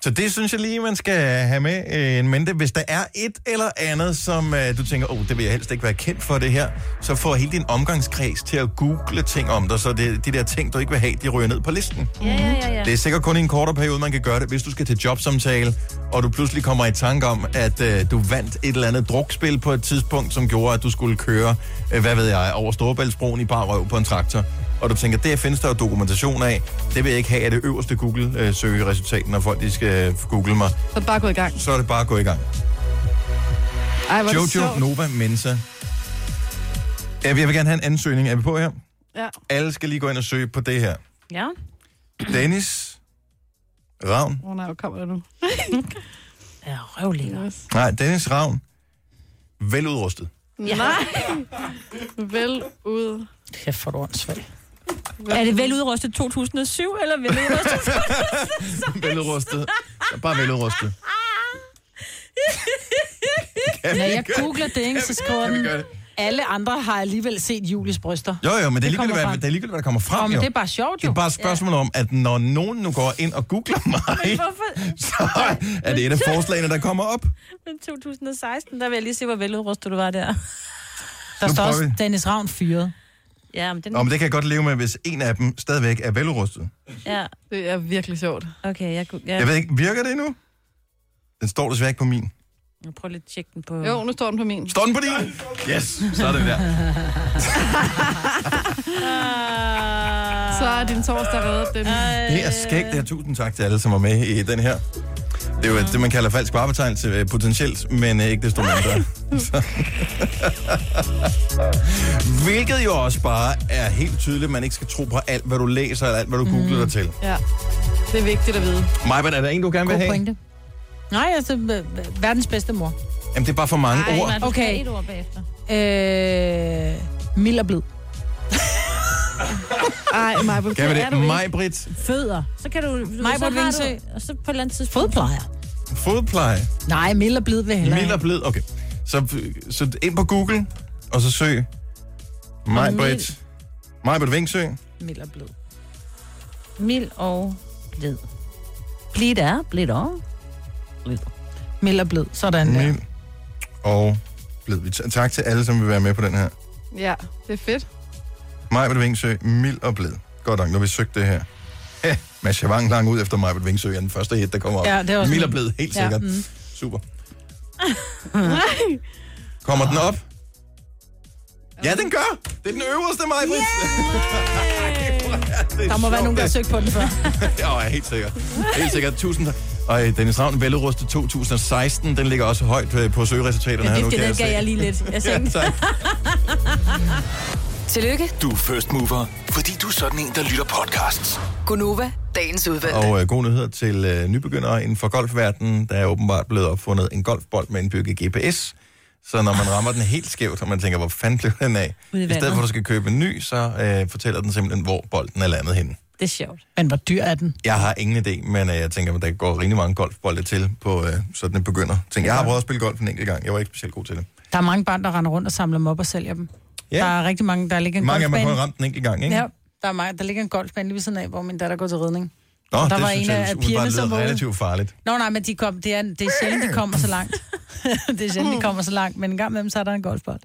S1: Så det synes jeg lige, man skal have med øh, en mente. Hvis der er et eller andet, som øh, du tænker, åh, det vil jeg helst ikke være kendt for det her, så får hele din omgangskreds til at google ting om dig, så det, de der ting, du ikke vil have, de ryger ned på listen.
S3: Ja, ja, ja, ja.
S1: Det er sikkert kun i en kortere periode, man kan gøre det, hvis du skal til jobsamtale, og du pludselig kommer i tanke om, at øh, du vandt et eller andet drukspil på et tidspunkt, som gjorde, at du skulle køre, øh, hvad ved jeg, over Storebæltsbroen i bare røv på en traktor. Og du tænker, der findes der jo dokumentation af. Det vil jeg ikke have af det øverste Google-søgeresultat, når folk de skal øh, google mig.
S4: Så bare gå i gang.
S1: Så er det bare at gå i gang.
S4: Ej, hvor er det
S1: Jojo
S4: sjovt.
S1: Nova Mensa. Ja, Jeg vil gerne have en ansøgning. Er vi på her?
S4: Ja.
S1: Alle skal lige gå ind og søge på det her.
S3: Ja.
S1: Dennis Ravn.
S4: Åh oh, nej, hvor kommer det nu?
S3: ja, røvlænger.
S1: Nej, Dennis Ravn. Veludrustet.
S4: Ja. Nej. Vel ud.
S2: Kæft, for du åndssvagt.
S3: Er det vel udrustet 2007, eller vel udrustet?
S1: *laughs* veludrustet. Bare veludrustet. Kan vi
S2: Når jeg
S1: gøre-
S2: googler det, ikke, så skriver
S1: kan vi
S2: den,
S1: gøre det?
S2: alle andre har alligevel set Julies bryster.
S1: Jo, jo, men det er
S2: kommer
S1: ligegyldigt, hvad,
S2: frem.
S1: det er ligegyldigt, hvad der kommer frem,
S2: Nå, men
S1: jo.
S2: det er bare sjovt,
S1: Det er
S2: jo.
S1: bare et spørgsmål om, at når nogen nu går ind og googler mig, så er det et af forslagene, der kommer op.
S3: Men 2016, der vil jeg lige se, hvor veludrustet du var der.
S2: Der
S1: Nu
S2: står
S1: prøver
S2: også
S1: vi.
S2: Dennis Ravn fyret.
S3: Ja, men den...
S1: Nå, men det kan jeg godt leve med, hvis en af dem stadigvæk er veludrustet.
S3: Ja.
S4: Det er virkelig sjovt.
S3: Okay, jeg, kunne- ja.
S1: Jeg ved ikke, virker det endnu? Den står desværre ikke på min.
S3: Jeg prøver lige at tjekke den på...
S4: Jo, nu Mm. står den på min.
S1: Står den på din? Yes, så er det der.
S4: Så er din torsdag reddet, den.
S1: Det er skægt, det her. Tusind tak til alle, som var med i den her. Det er jo det, man kalder falsk varebetegnelse øh, potentielt, men øh, ikke desto mindre. Så. *laughs* Hvilket jo også bare er helt tydeligt, at man ikke skal tro på alt, hvad du læser, eller alt, hvad du googler dig til.
S4: Ja, det er vigtigt at vide.
S1: Majben, er der en, du gerne vil
S2: God
S1: have?
S2: pointe. Nej, altså, v- v- verdens bedste mor.
S1: Jamen, det er bare for mange
S2: Ej,
S1: ord.
S2: man- Okay.
S3: Okay. Et ord bagefter.
S2: Øh, mild og blid.
S4: Ej, Majbrit,
S1: Kan vi
S4: det
S1: det? Majbrit,
S3: Fødder. Så kan du... så
S2: Majbrit
S3: har
S2: Vingsø.
S3: du- Og så på et eller andet tidspunkt...
S2: Fodplejer.
S1: fodpleje,
S2: Nej, mild og blid vil jeg hellere.
S1: mild og blid. Okay, så, så ind på Google, og så søg Majbrit. Majbrit Vingsø.
S2: have. Mild og blid.
S3: Mild og blid. Blid er, blid og.
S2: Mild og blid. Sådan der.
S1: Mild og blid. Vi t- Tak til alle, som vil være med på den her.
S4: Ja, det er fedt.
S1: Majbert Vingsø, mild og blid. Godt nok, når vi søgte det her. Eh, Mads Javang lang ud efter Majbert Vingsø er den første hit, der kommer op.
S2: Ja, det er også
S1: mild og
S2: min.
S1: blid, helt
S2: Ja,
S1: sikkert.
S2: mm.
S1: Super. Kommer den op? Ja, den gør. Det er den øverste, *laughs* Majbrit. Yeah!
S2: Der må være nogen, der har søgt på den
S1: *laughs*
S2: før.
S1: Ja, jeg er helt sikkert. Helt sikkert. Tusind tak. Og øh, Dennis Ravn, veludrustet 2016, den ligger også højt øh, på søgeresultaterne her nu, kan jeg se.
S3: lige lidt. Jeg
S1: Ja, tak.
S5: Tillykke,
S6: Du er first mover, fordi du er sådan en, der lytter podcasts.
S5: Gunova, dagens udvalgte.
S1: Og øh, gode nyheder til øh, nybegyndere inden for golfverdenen. Der er åbenbart blevet opfundet en golfbold med indbygget GPS. Så når man rammer den helt skævt, og man tænker, hvor fanden blev den af?
S3: Ude i
S1: I stedet
S3: vandet.
S1: for, at du skal købe en ny, så øh, fortæller den simpelthen, hvor bolden er landet henne.
S3: Det er sjovt.
S2: Men hvor dyr er den?
S1: Jeg har ingen idé, men øh, jeg tænker, at der går rimelig mange golfbolde til på øh, sådan en begynder. Tænk, jeg har prøvet at spille golf en enkelt gang. Jeg var ikke specielt god til det.
S2: Der er mange børn, der render rundt og samler dem op og sælger dem.
S1: Ja.
S2: Ja. Der er rigtig mange, der ligger en
S1: Mange af dem har
S2: golfbane.
S1: kun ramt den enkelt gang, ikke?
S2: Ja, der, er mange, der ligger en golfbane lige ved siden af, hvor min datter går til ridning.
S1: Nå,
S2: Og
S1: der
S2: der
S1: det var
S2: var
S1: synes
S2: en
S1: jeg,
S2: af
S1: det umiddelbart
S2: pigerne, som
S1: lyder
S2: var ude.
S1: relativt farligt.
S2: Nå, nej, men de kom, det, er, det er sjældent, de kommer så langt. *laughs* det er sjældent, de kommer så langt, men en gang med dem, så er der en golfbold.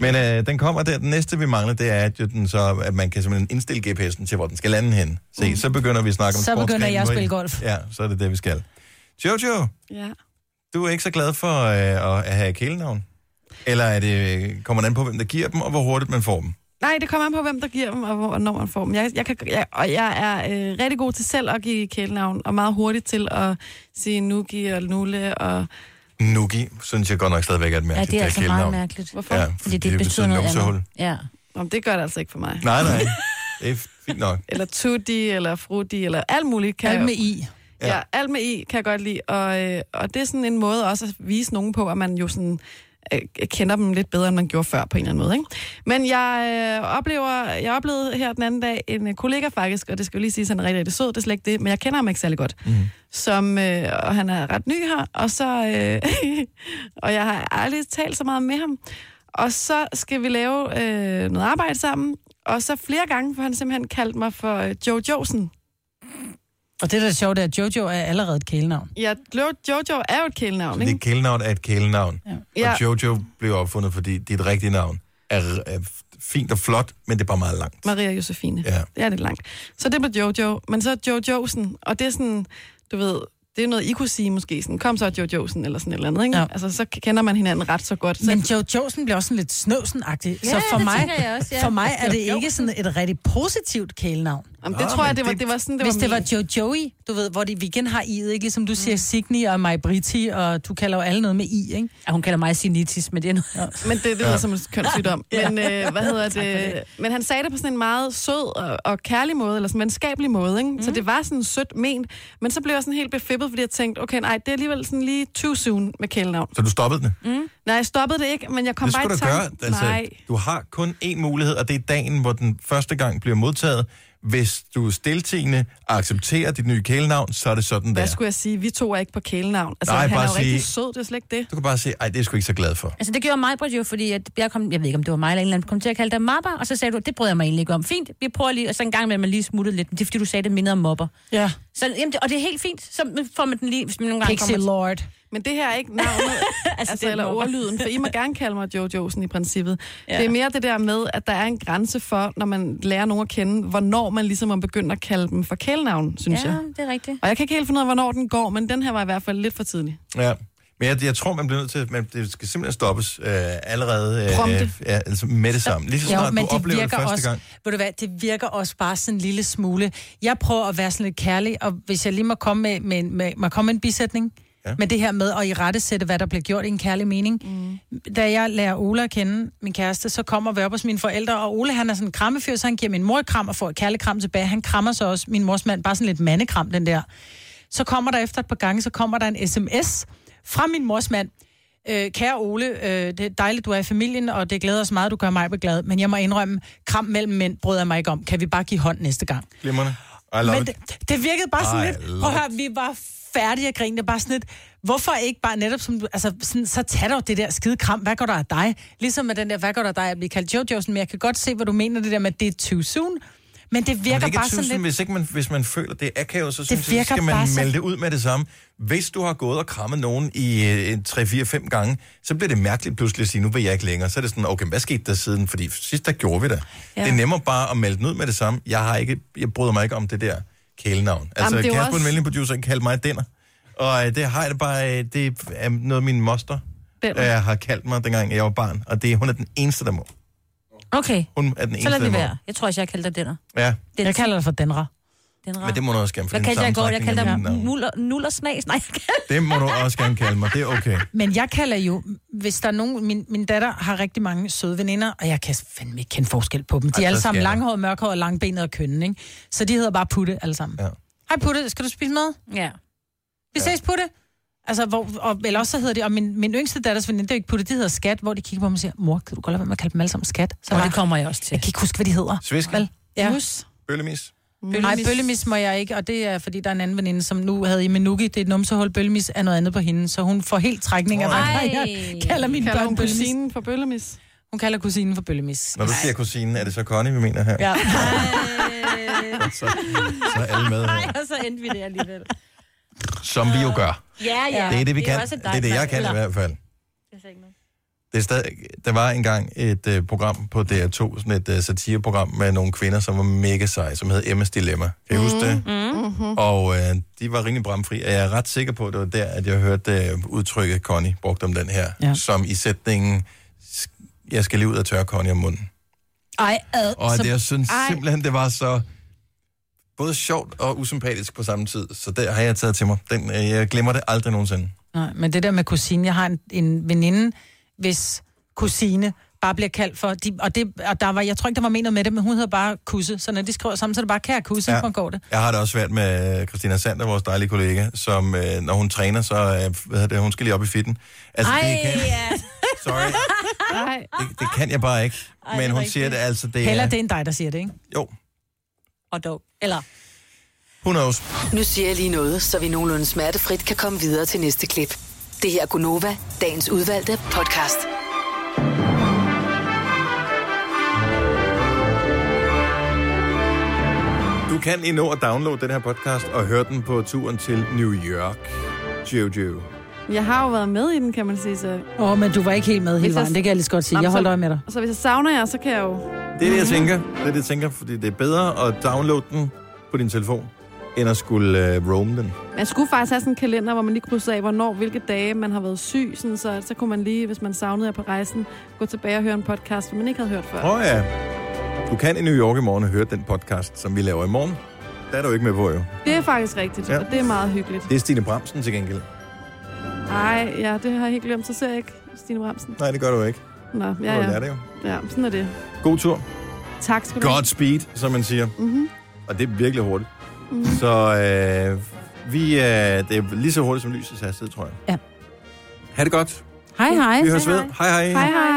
S1: Men øh, den kommer der. Den næste, vi mangler, det er, at, jo den så, at man kan simpelthen indstille GPS'en til, hvor den skal lande hen. Se, mm. så begynder vi at snakke om
S2: Så begynder
S1: sportsgrenen,
S2: jeg at
S1: hvor I-
S2: spille golf.
S1: Ja, så er det det, vi skal. Jojo,
S4: Ja.
S1: du er ikke så glad for øh, at have kælenavn? Eller er det, øh, kommer det an på, hvem der giver dem, og hvor hurtigt man får dem?
S4: Nej, det kommer an på, hvem der giver dem, og hvornår man får dem. Jeg, jeg, kan, jeg, og jeg er øh, rigtig god til selv at give kælenavn, og meget hurtig til at sige Nuki og Nulle, og
S1: Nuki, synes jeg godt nok stadigvæk er et
S3: Ja,
S1: mærkeligt
S3: det er
S1: øh,
S3: altså
S1: kælenavn.
S3: meget mærkeligt.
S4: hvorfor?
S1: Ja,
S4: Ja.
S1: fordi, det, det betyder noget andet.
S3: Ja.
S4: Om det gør det altså ikke for mig.
S1: Nej, nej. Det er fint nok.
S4: Eller Tutti, eller Frutti, eller alt muligt. Kan
S2: Alt
S4: jeg-
S2: med i.
S1: Ja.
S4: Ja. ja, alt med i kan jeg godt lide. Og, øh, og det er sådan en måde også at vise nogen på, at man jo sådan øh, kender dem lidt bedre, end man gjorde før på en eller anden måde. Ikke? Men jeg øh, oplever, jeg oplevede her den anden dag en øh, kollega faktisk, og det skal jo lige sige, at han er rigtig, rigtig sød, det er slet ikke det, men jeg kender ham ikke særlig godt. Mm. Som, øh, og han er ret ny her, og så øh, *laughs* og jeg har aldrig talt så meget med ham. Og så skal vi lave øh, noget arbejde sammen, og så flere gange får han simpelthen kaldt mig for øh, Joe Josen.
S2: Og det, der er sjovt, det er, at Jojo er allerede et kælenavn.
S4: Ja, Jo- Jojo er jo et kælenavn,
S1: Det
S4: ikke?
S1: er kælenavn er et kælenavn.
S4: Ja.
S1: Ja. Og Jojo blev opfundet, fordi dit rigtige navn er, er fint og flot, men det er bare meget langt.
S4: Maria Josefine.
S1: Ja.
S4: Det er lidt langt. Så det blev Jojo, men så Jojosen, og det er sådan, du ved, det er noget, I kunne sige måske, sådan, kom så Jojosen, eller sådan et eller andet, ikke? Ja. Altså, så kender man hinanden ret så godt. Så
S2: Men Jojosen bliver også sådan lidt snøvsen-agtig.
S4: Ja,
S2: så for
S4: det
S2: mig,
S4: tænker jeg også, ja.
S2: for mig er det ikke
S4: Jojosen.
S2: sådan et rigtig positivt kælenavn.
S4: Jamen, det Nå, tror jeg, men det var- det- det var sådan, det var Mm.
S2: Hvis det var
S4: ment.
S2: Jojoey, du ved, hvor det, vi igen har i'et, ikke? Ligesom du siger Signi og Maj Britti, og du kalder jo alle noget med i, ikke? Ja, hun kalder mig Sinitis, men det er noget.
S4: Men det, det lyder som en kønssygdom.
S2: *laughs* Ja.
S4: Men, øh, hvad hedder det? men han sagde det på sådan en meget sød og, og kærlig måde, eller sådan en venskabelig måde, ikke? Mm.
S2: Mhm.
S4: Så det var sådan sødt ment. Men så blev jeg sådan helt befippet, fordi jeg tænkte, okay, nej, det er alligevel sådan lige too soon med kælenavn.
S1: Så du stoppede den?
S4: Mm. Nej, jeg stoppede det ikke, men jeg kom
S1: det
S4: bare i
S1: skulle du
S4: tanke.
S1: gøre. Altså,
S4: Nej.
S1: du har kun én mulighed, og det er dagen, hvor den første gang bliver modtaget. Hvis du stiltigende accepterer dit nye kælenavn, så er det sådan der.
S4: Hvad skulle jeg sige? Vi to er ikke på kælenavn. Altså,
S1: Nej,
S4: nej, han
S1: bare
S4: er jo sige... rigtig
S1: sige-
S4: sød, det er slet ikke det.
S1: Du kan bare sige, ej, det er jeg sgu ikke så glad for.
S3: Altså, det gjorde mig, Britt, jo, fordi at jeg, kom, jeg ved ikke, om det var mig eller en eller anden, kom til at kalde dig mapper, og så sagde du, det bryder jeg mig egentlig ikke om. Fint, vi prøver lige, og så en gang imellem man lige smuttet lidt, men det er, fordi du sagde, det minder om mopper.
S2: Ja.
S3: Så, jamen, det, og det er helt fint, så får man den lige, hvis man nogle gange
S4: Pixie
S3: kommer...
S2: Lord.
S4: Men det her er
S1: *laughs*
S4: ikke navnet, altså,
S3: det
S4: altså
S3: er
S4: eller
S3: mobber.
S4: ordlyden, for I må gerne kalde mig Jojosen i princippet.
S3: Ja.
S4: Ja. Det er mere det der med, at der er en grænse for, når man lærer nogen at kende, hvornår man ligesom er begyndt at kalde dem for kælenavn, synes
S3: ja,
S4: jeg.
S3: det er rigtigt.
S4: Og jeg kan ikke helt finde ud af, hvornår den går, men den her var i hvert fald lidt for tidlig.
S1: Ja. Men jeg, jeg tror, man bliver nødt til, at man, det skal simpelthen stoppes øh, allerede
S2: Prompte.
S1: øh, ja, altså med det samme. Lige så snart du oplever det, første
S2: også,
S1: gang.
S2: Ved du hvad, det virker også bare sådan en lille smule. Jeg prøver at være sådan lidt kærlig, og hvis jeg lige må komme med, med, en- med, må komme med en bisætning, ja. med det her med at i rette sætte, hvad der bliver gjort i en kærlig mening. Mm. Da jeg lærer Ola at kende, min kæreste, så kommer vi op hos mine forældre, og Ola han er sådan en krammefyr, så han giver min mor et kram og får et kærligt kram tilbage. Han krammer så også min mors mand, bare sådan lidt mandekram, den der. Så kommer der efter et par gange, så kommer der en sms fra min mors mand. Øh, kære Ole, øh, det er dejligt, du er i familien, og det glæder os meget, du gør mig beglad. Men jeg må indrømme, kram mellem mænd bryder jeg mig ikke om. Kan vi bare give hånd næste gang?
S1: Glimrende. I love
S2: Men
S1: it.
S2: det, det virkede bare sådan
S1: I
S2: lidt...
S1: love
S2: Prøv at høre, vi var færdige at grine. Det er bare sådan lidt... Hvorfor ikke bare netop som... du- Altså, sådan, så tag dog det der skide kram. Hvad går der af dig? Ligesom med den der, hvad går der af dig? Jeg bliver kaldt Jojosen, men jeg kan godt se, hvad du mener det der med, at det er too soon. Men det
S1: Men
S2: virker
S1: det er
S2: men
S1: ikke
S2: bare
S1: tusind,
S2: sådan lidt...
S1: Hvis, ikke man, hvis man føler, det er akavet, så, synes jeg,
S2: virker
S1: så skal
S2: bare
S1: man
S2: så-
S1: melde det ud med det samme. Hvis du har gået og krammet nogen i øh, 3-4-5 gange, så bliver det mærkeligt pludselig at sige, nu vil jeg ikke længere. Så er det sådan, okay, hvad skete der siden? Fordi sidst der gjorde vi det. Ja.
S4: Ja.
S1: Det er nemmere bare at melde den ud med det samme. Jeg, har ikke, jeg bryder mig ikke om det der kælenavn. Altså,
S4: Jamen, det er jo
S1: Kasper,
S4: også-
S1: også... en producer, kaldte mig Denner. Og øh, det har jeg det bare, øh, det er noget min moster øh,
S3: Denner.
S1: har kaldt mig, dengang jeg var barn. Og det, hun er den eneste, der må.
S3: Okay,
S1: Hun er den eneste,
S3: så lad
S1: der
S3: det
S1: må.
S3: være. Jeg tror også, jeg kalder dig denner.
S1: Ja,
S3: Den
S2: Jeg kalder dig for Denra.
S3: Denra.
S1: men det må du også gerne, for
S3: Hvad
S1: det er en
S3: kaldte jeg i går? Jeg
S1: sammentrækning af
S3: kaldte dig
S1: mit navn.
S3: nuller, nuller snas. Nej, jeg kalder
S1: Det må du også gerne kalde mig. Det er okay.
S2: Men jeg kalder jo, hvis der er nogen, min, min datter har rigtig mange søde veninder, og jeg kan fandme ikke kende forskel på dem. De
S1: Ej,
S2: er alle
S1: så
S2: sammen
S1: skal jeg.
S2: langhåret, mørkhåret, langbenet og kønne, ikke? Så de hedder bare Putte alle sammen.
S1: Ja.
S2: Hej Putte, skal du spise mad?
S3: Ja.
S2: Vi ses Putte. Altså, hvor, og, eller også så hedder de, og min, min yngste datters veninde, det er jo ikke Putte, de hedder Skat, hvor de kigger på mig og siger, mor, kan du godt lade være med at kalde dem alle sammen Skat? Så
S3: Og
S2: bare,
S3: det kommer jeg også til.
S2: Jeg kan ikke huske, hvad de hedder.
S1: Svisk?
S2: Vel? Ja.
S1: Bøllemis?
S2: Nej, bøllemis må jeg ikke, og det er, fordi der er en anden veninde, som nu havde i Menuki, det er et numsehul, bøllemis er noget andet på hende, så hun får helt trækning af, hvad jeg kalder mine
S4: kalder
S2: børn
S4: hun
S2: bøllemis.
S4: kusinen for bøllemis?
S2: Hun kalder kusinen for bøllemis.
S1: Når du siger kusine, er det så Connie, vi mener her?
S2: *laughs* Ja.
S1: Så, så er alle med her.
S3: *laughs* og så endte vi det alligevel.
S1: Som vi jo gør.
S3: Ja, ja.
S1: det er det, vi
S3: Det er
S1: kan.
S3: også
S1: det
S3: dig,
S1: er det, jeg
S3: Frank.
S1: kan i
S3: Eller-
S1: hvert fald. Det er stadig, der var engang et uh, program på DR2, sådan et uh, satireprogram med nogle kvinder, som var mega seje, som hed Emmas Dilemma. Kan I huske det?
S12: Mm-hmm.
S1: Og øh, de var rimelig bramfri, og jeg er ret sikker på, at det var der, at jeg hørte øh, udtrykket Connie brugt om den her, ja. som i sætningen, "S- jeg skal lige ud og tørre Connie om munden.
S2: Ej, ad.
S1: Og så, det, jeg synes ej. simpelthen, det var så både sjovt og usympatisk på samme tid, så det har jeg taget til mig. Den, øh, jeg glemmer det aldrig nogensinde.
S2: Nej, men det der med kusine, jeg har en, en veninde, hvis kusine bare bliver kaldt for, de, og, det, og der var, jeg tror ikke, der var menet med det, men hun hedder bare kusse, så når de skriver sammen, så er det bare, kære kusse, ja. går det.
S1: Jeg har det også svært med øh, Christina Sander, vores dejlige kollega, som øh, når hun træner, så øh, hvad hedder det, hun skal lige op i fitten. Altså, Ej. Det, kan,
S3: ja.
S1: *laughs* Sorry.
S4: Nej.
S1: det, det kan jeg bare ikke. Ej, men hun siger det altså, det
S2: Heller
S1: er...
S2: det end dig, der siger det, ikke?
S1: Jo,
S3: Og dog. Eller...
S1: who knows.
S5: Nu siger jeg lige noget, så vi nogenlunde smertefrit kan komme videre til næste klip. Det her er Gunova, dagens udvalgte podcast.
S1: Du kan I nå at downloade den her podcast og høre den på turen til New York. Jojo.
S4: Jeg har jo været med i den, kan man sige. Så...
S2: Åh, oh, men du var ikke helt med hele
S4: Hvis jeg-
S2: vejen, det kan jeg lige så godt sige.
S4: Nå,
S2: Jeg
S4: men
S2: holdt
S4: så-
S2: øje med dig.
S4: Så hvis jeg savner jer, så kan jeg jo...
S1: Det er det, jeg
S4: Mhm.
S1: tænker. Det er det, jeg tænker, fordi det er bedre at downloade den på din telefon, end at skulle øh, roam den.
S4: Man skulle faktisk have sådan en kalender, hvor man lige krydsede af, hvornår, hvilke dage man har været syg. Sådan, så, så kunne man lige, hvis man savnede jer på rejsen, gå tilbage og høre en podcast, som man ikke havde hørt før.
S1: Åh oh, ja. Du kan i New York i morgen høre den podcast, som vi laver i morgen. Der er du ikke med på, jo.
S4: Det er faktisk rigtigt,
S1: Ja.
S4: ja. og det er meget hyggeligt.
S1: Det er Stine Bramsen til gengæld.
S4: Nej, ja, det har jeg helt glemt. Så ser jeg ikke Stine Bramsen.
S1: Nej, det gør du ikke.
S4: Nå, ja,
S1: Nå, det er
S4: ja.
S1: det jo.
S4: Ja, sådan er det.
S1: God tur.
S4: Tak skal du have.
S1: God speed, som man siger.
S4: Mhm.
S1: Og det er virkelig hurtigt.
S4: Mhm.
S1: Så øh, vi, øh, det er lige så hurtigt som lysets hastighed, tror jeg.
S2: Ja.
S1: Ha' det godt.
S2: Hej, hej.
S1: Vi høres ved. Hej hej.
S2: Hej, hej.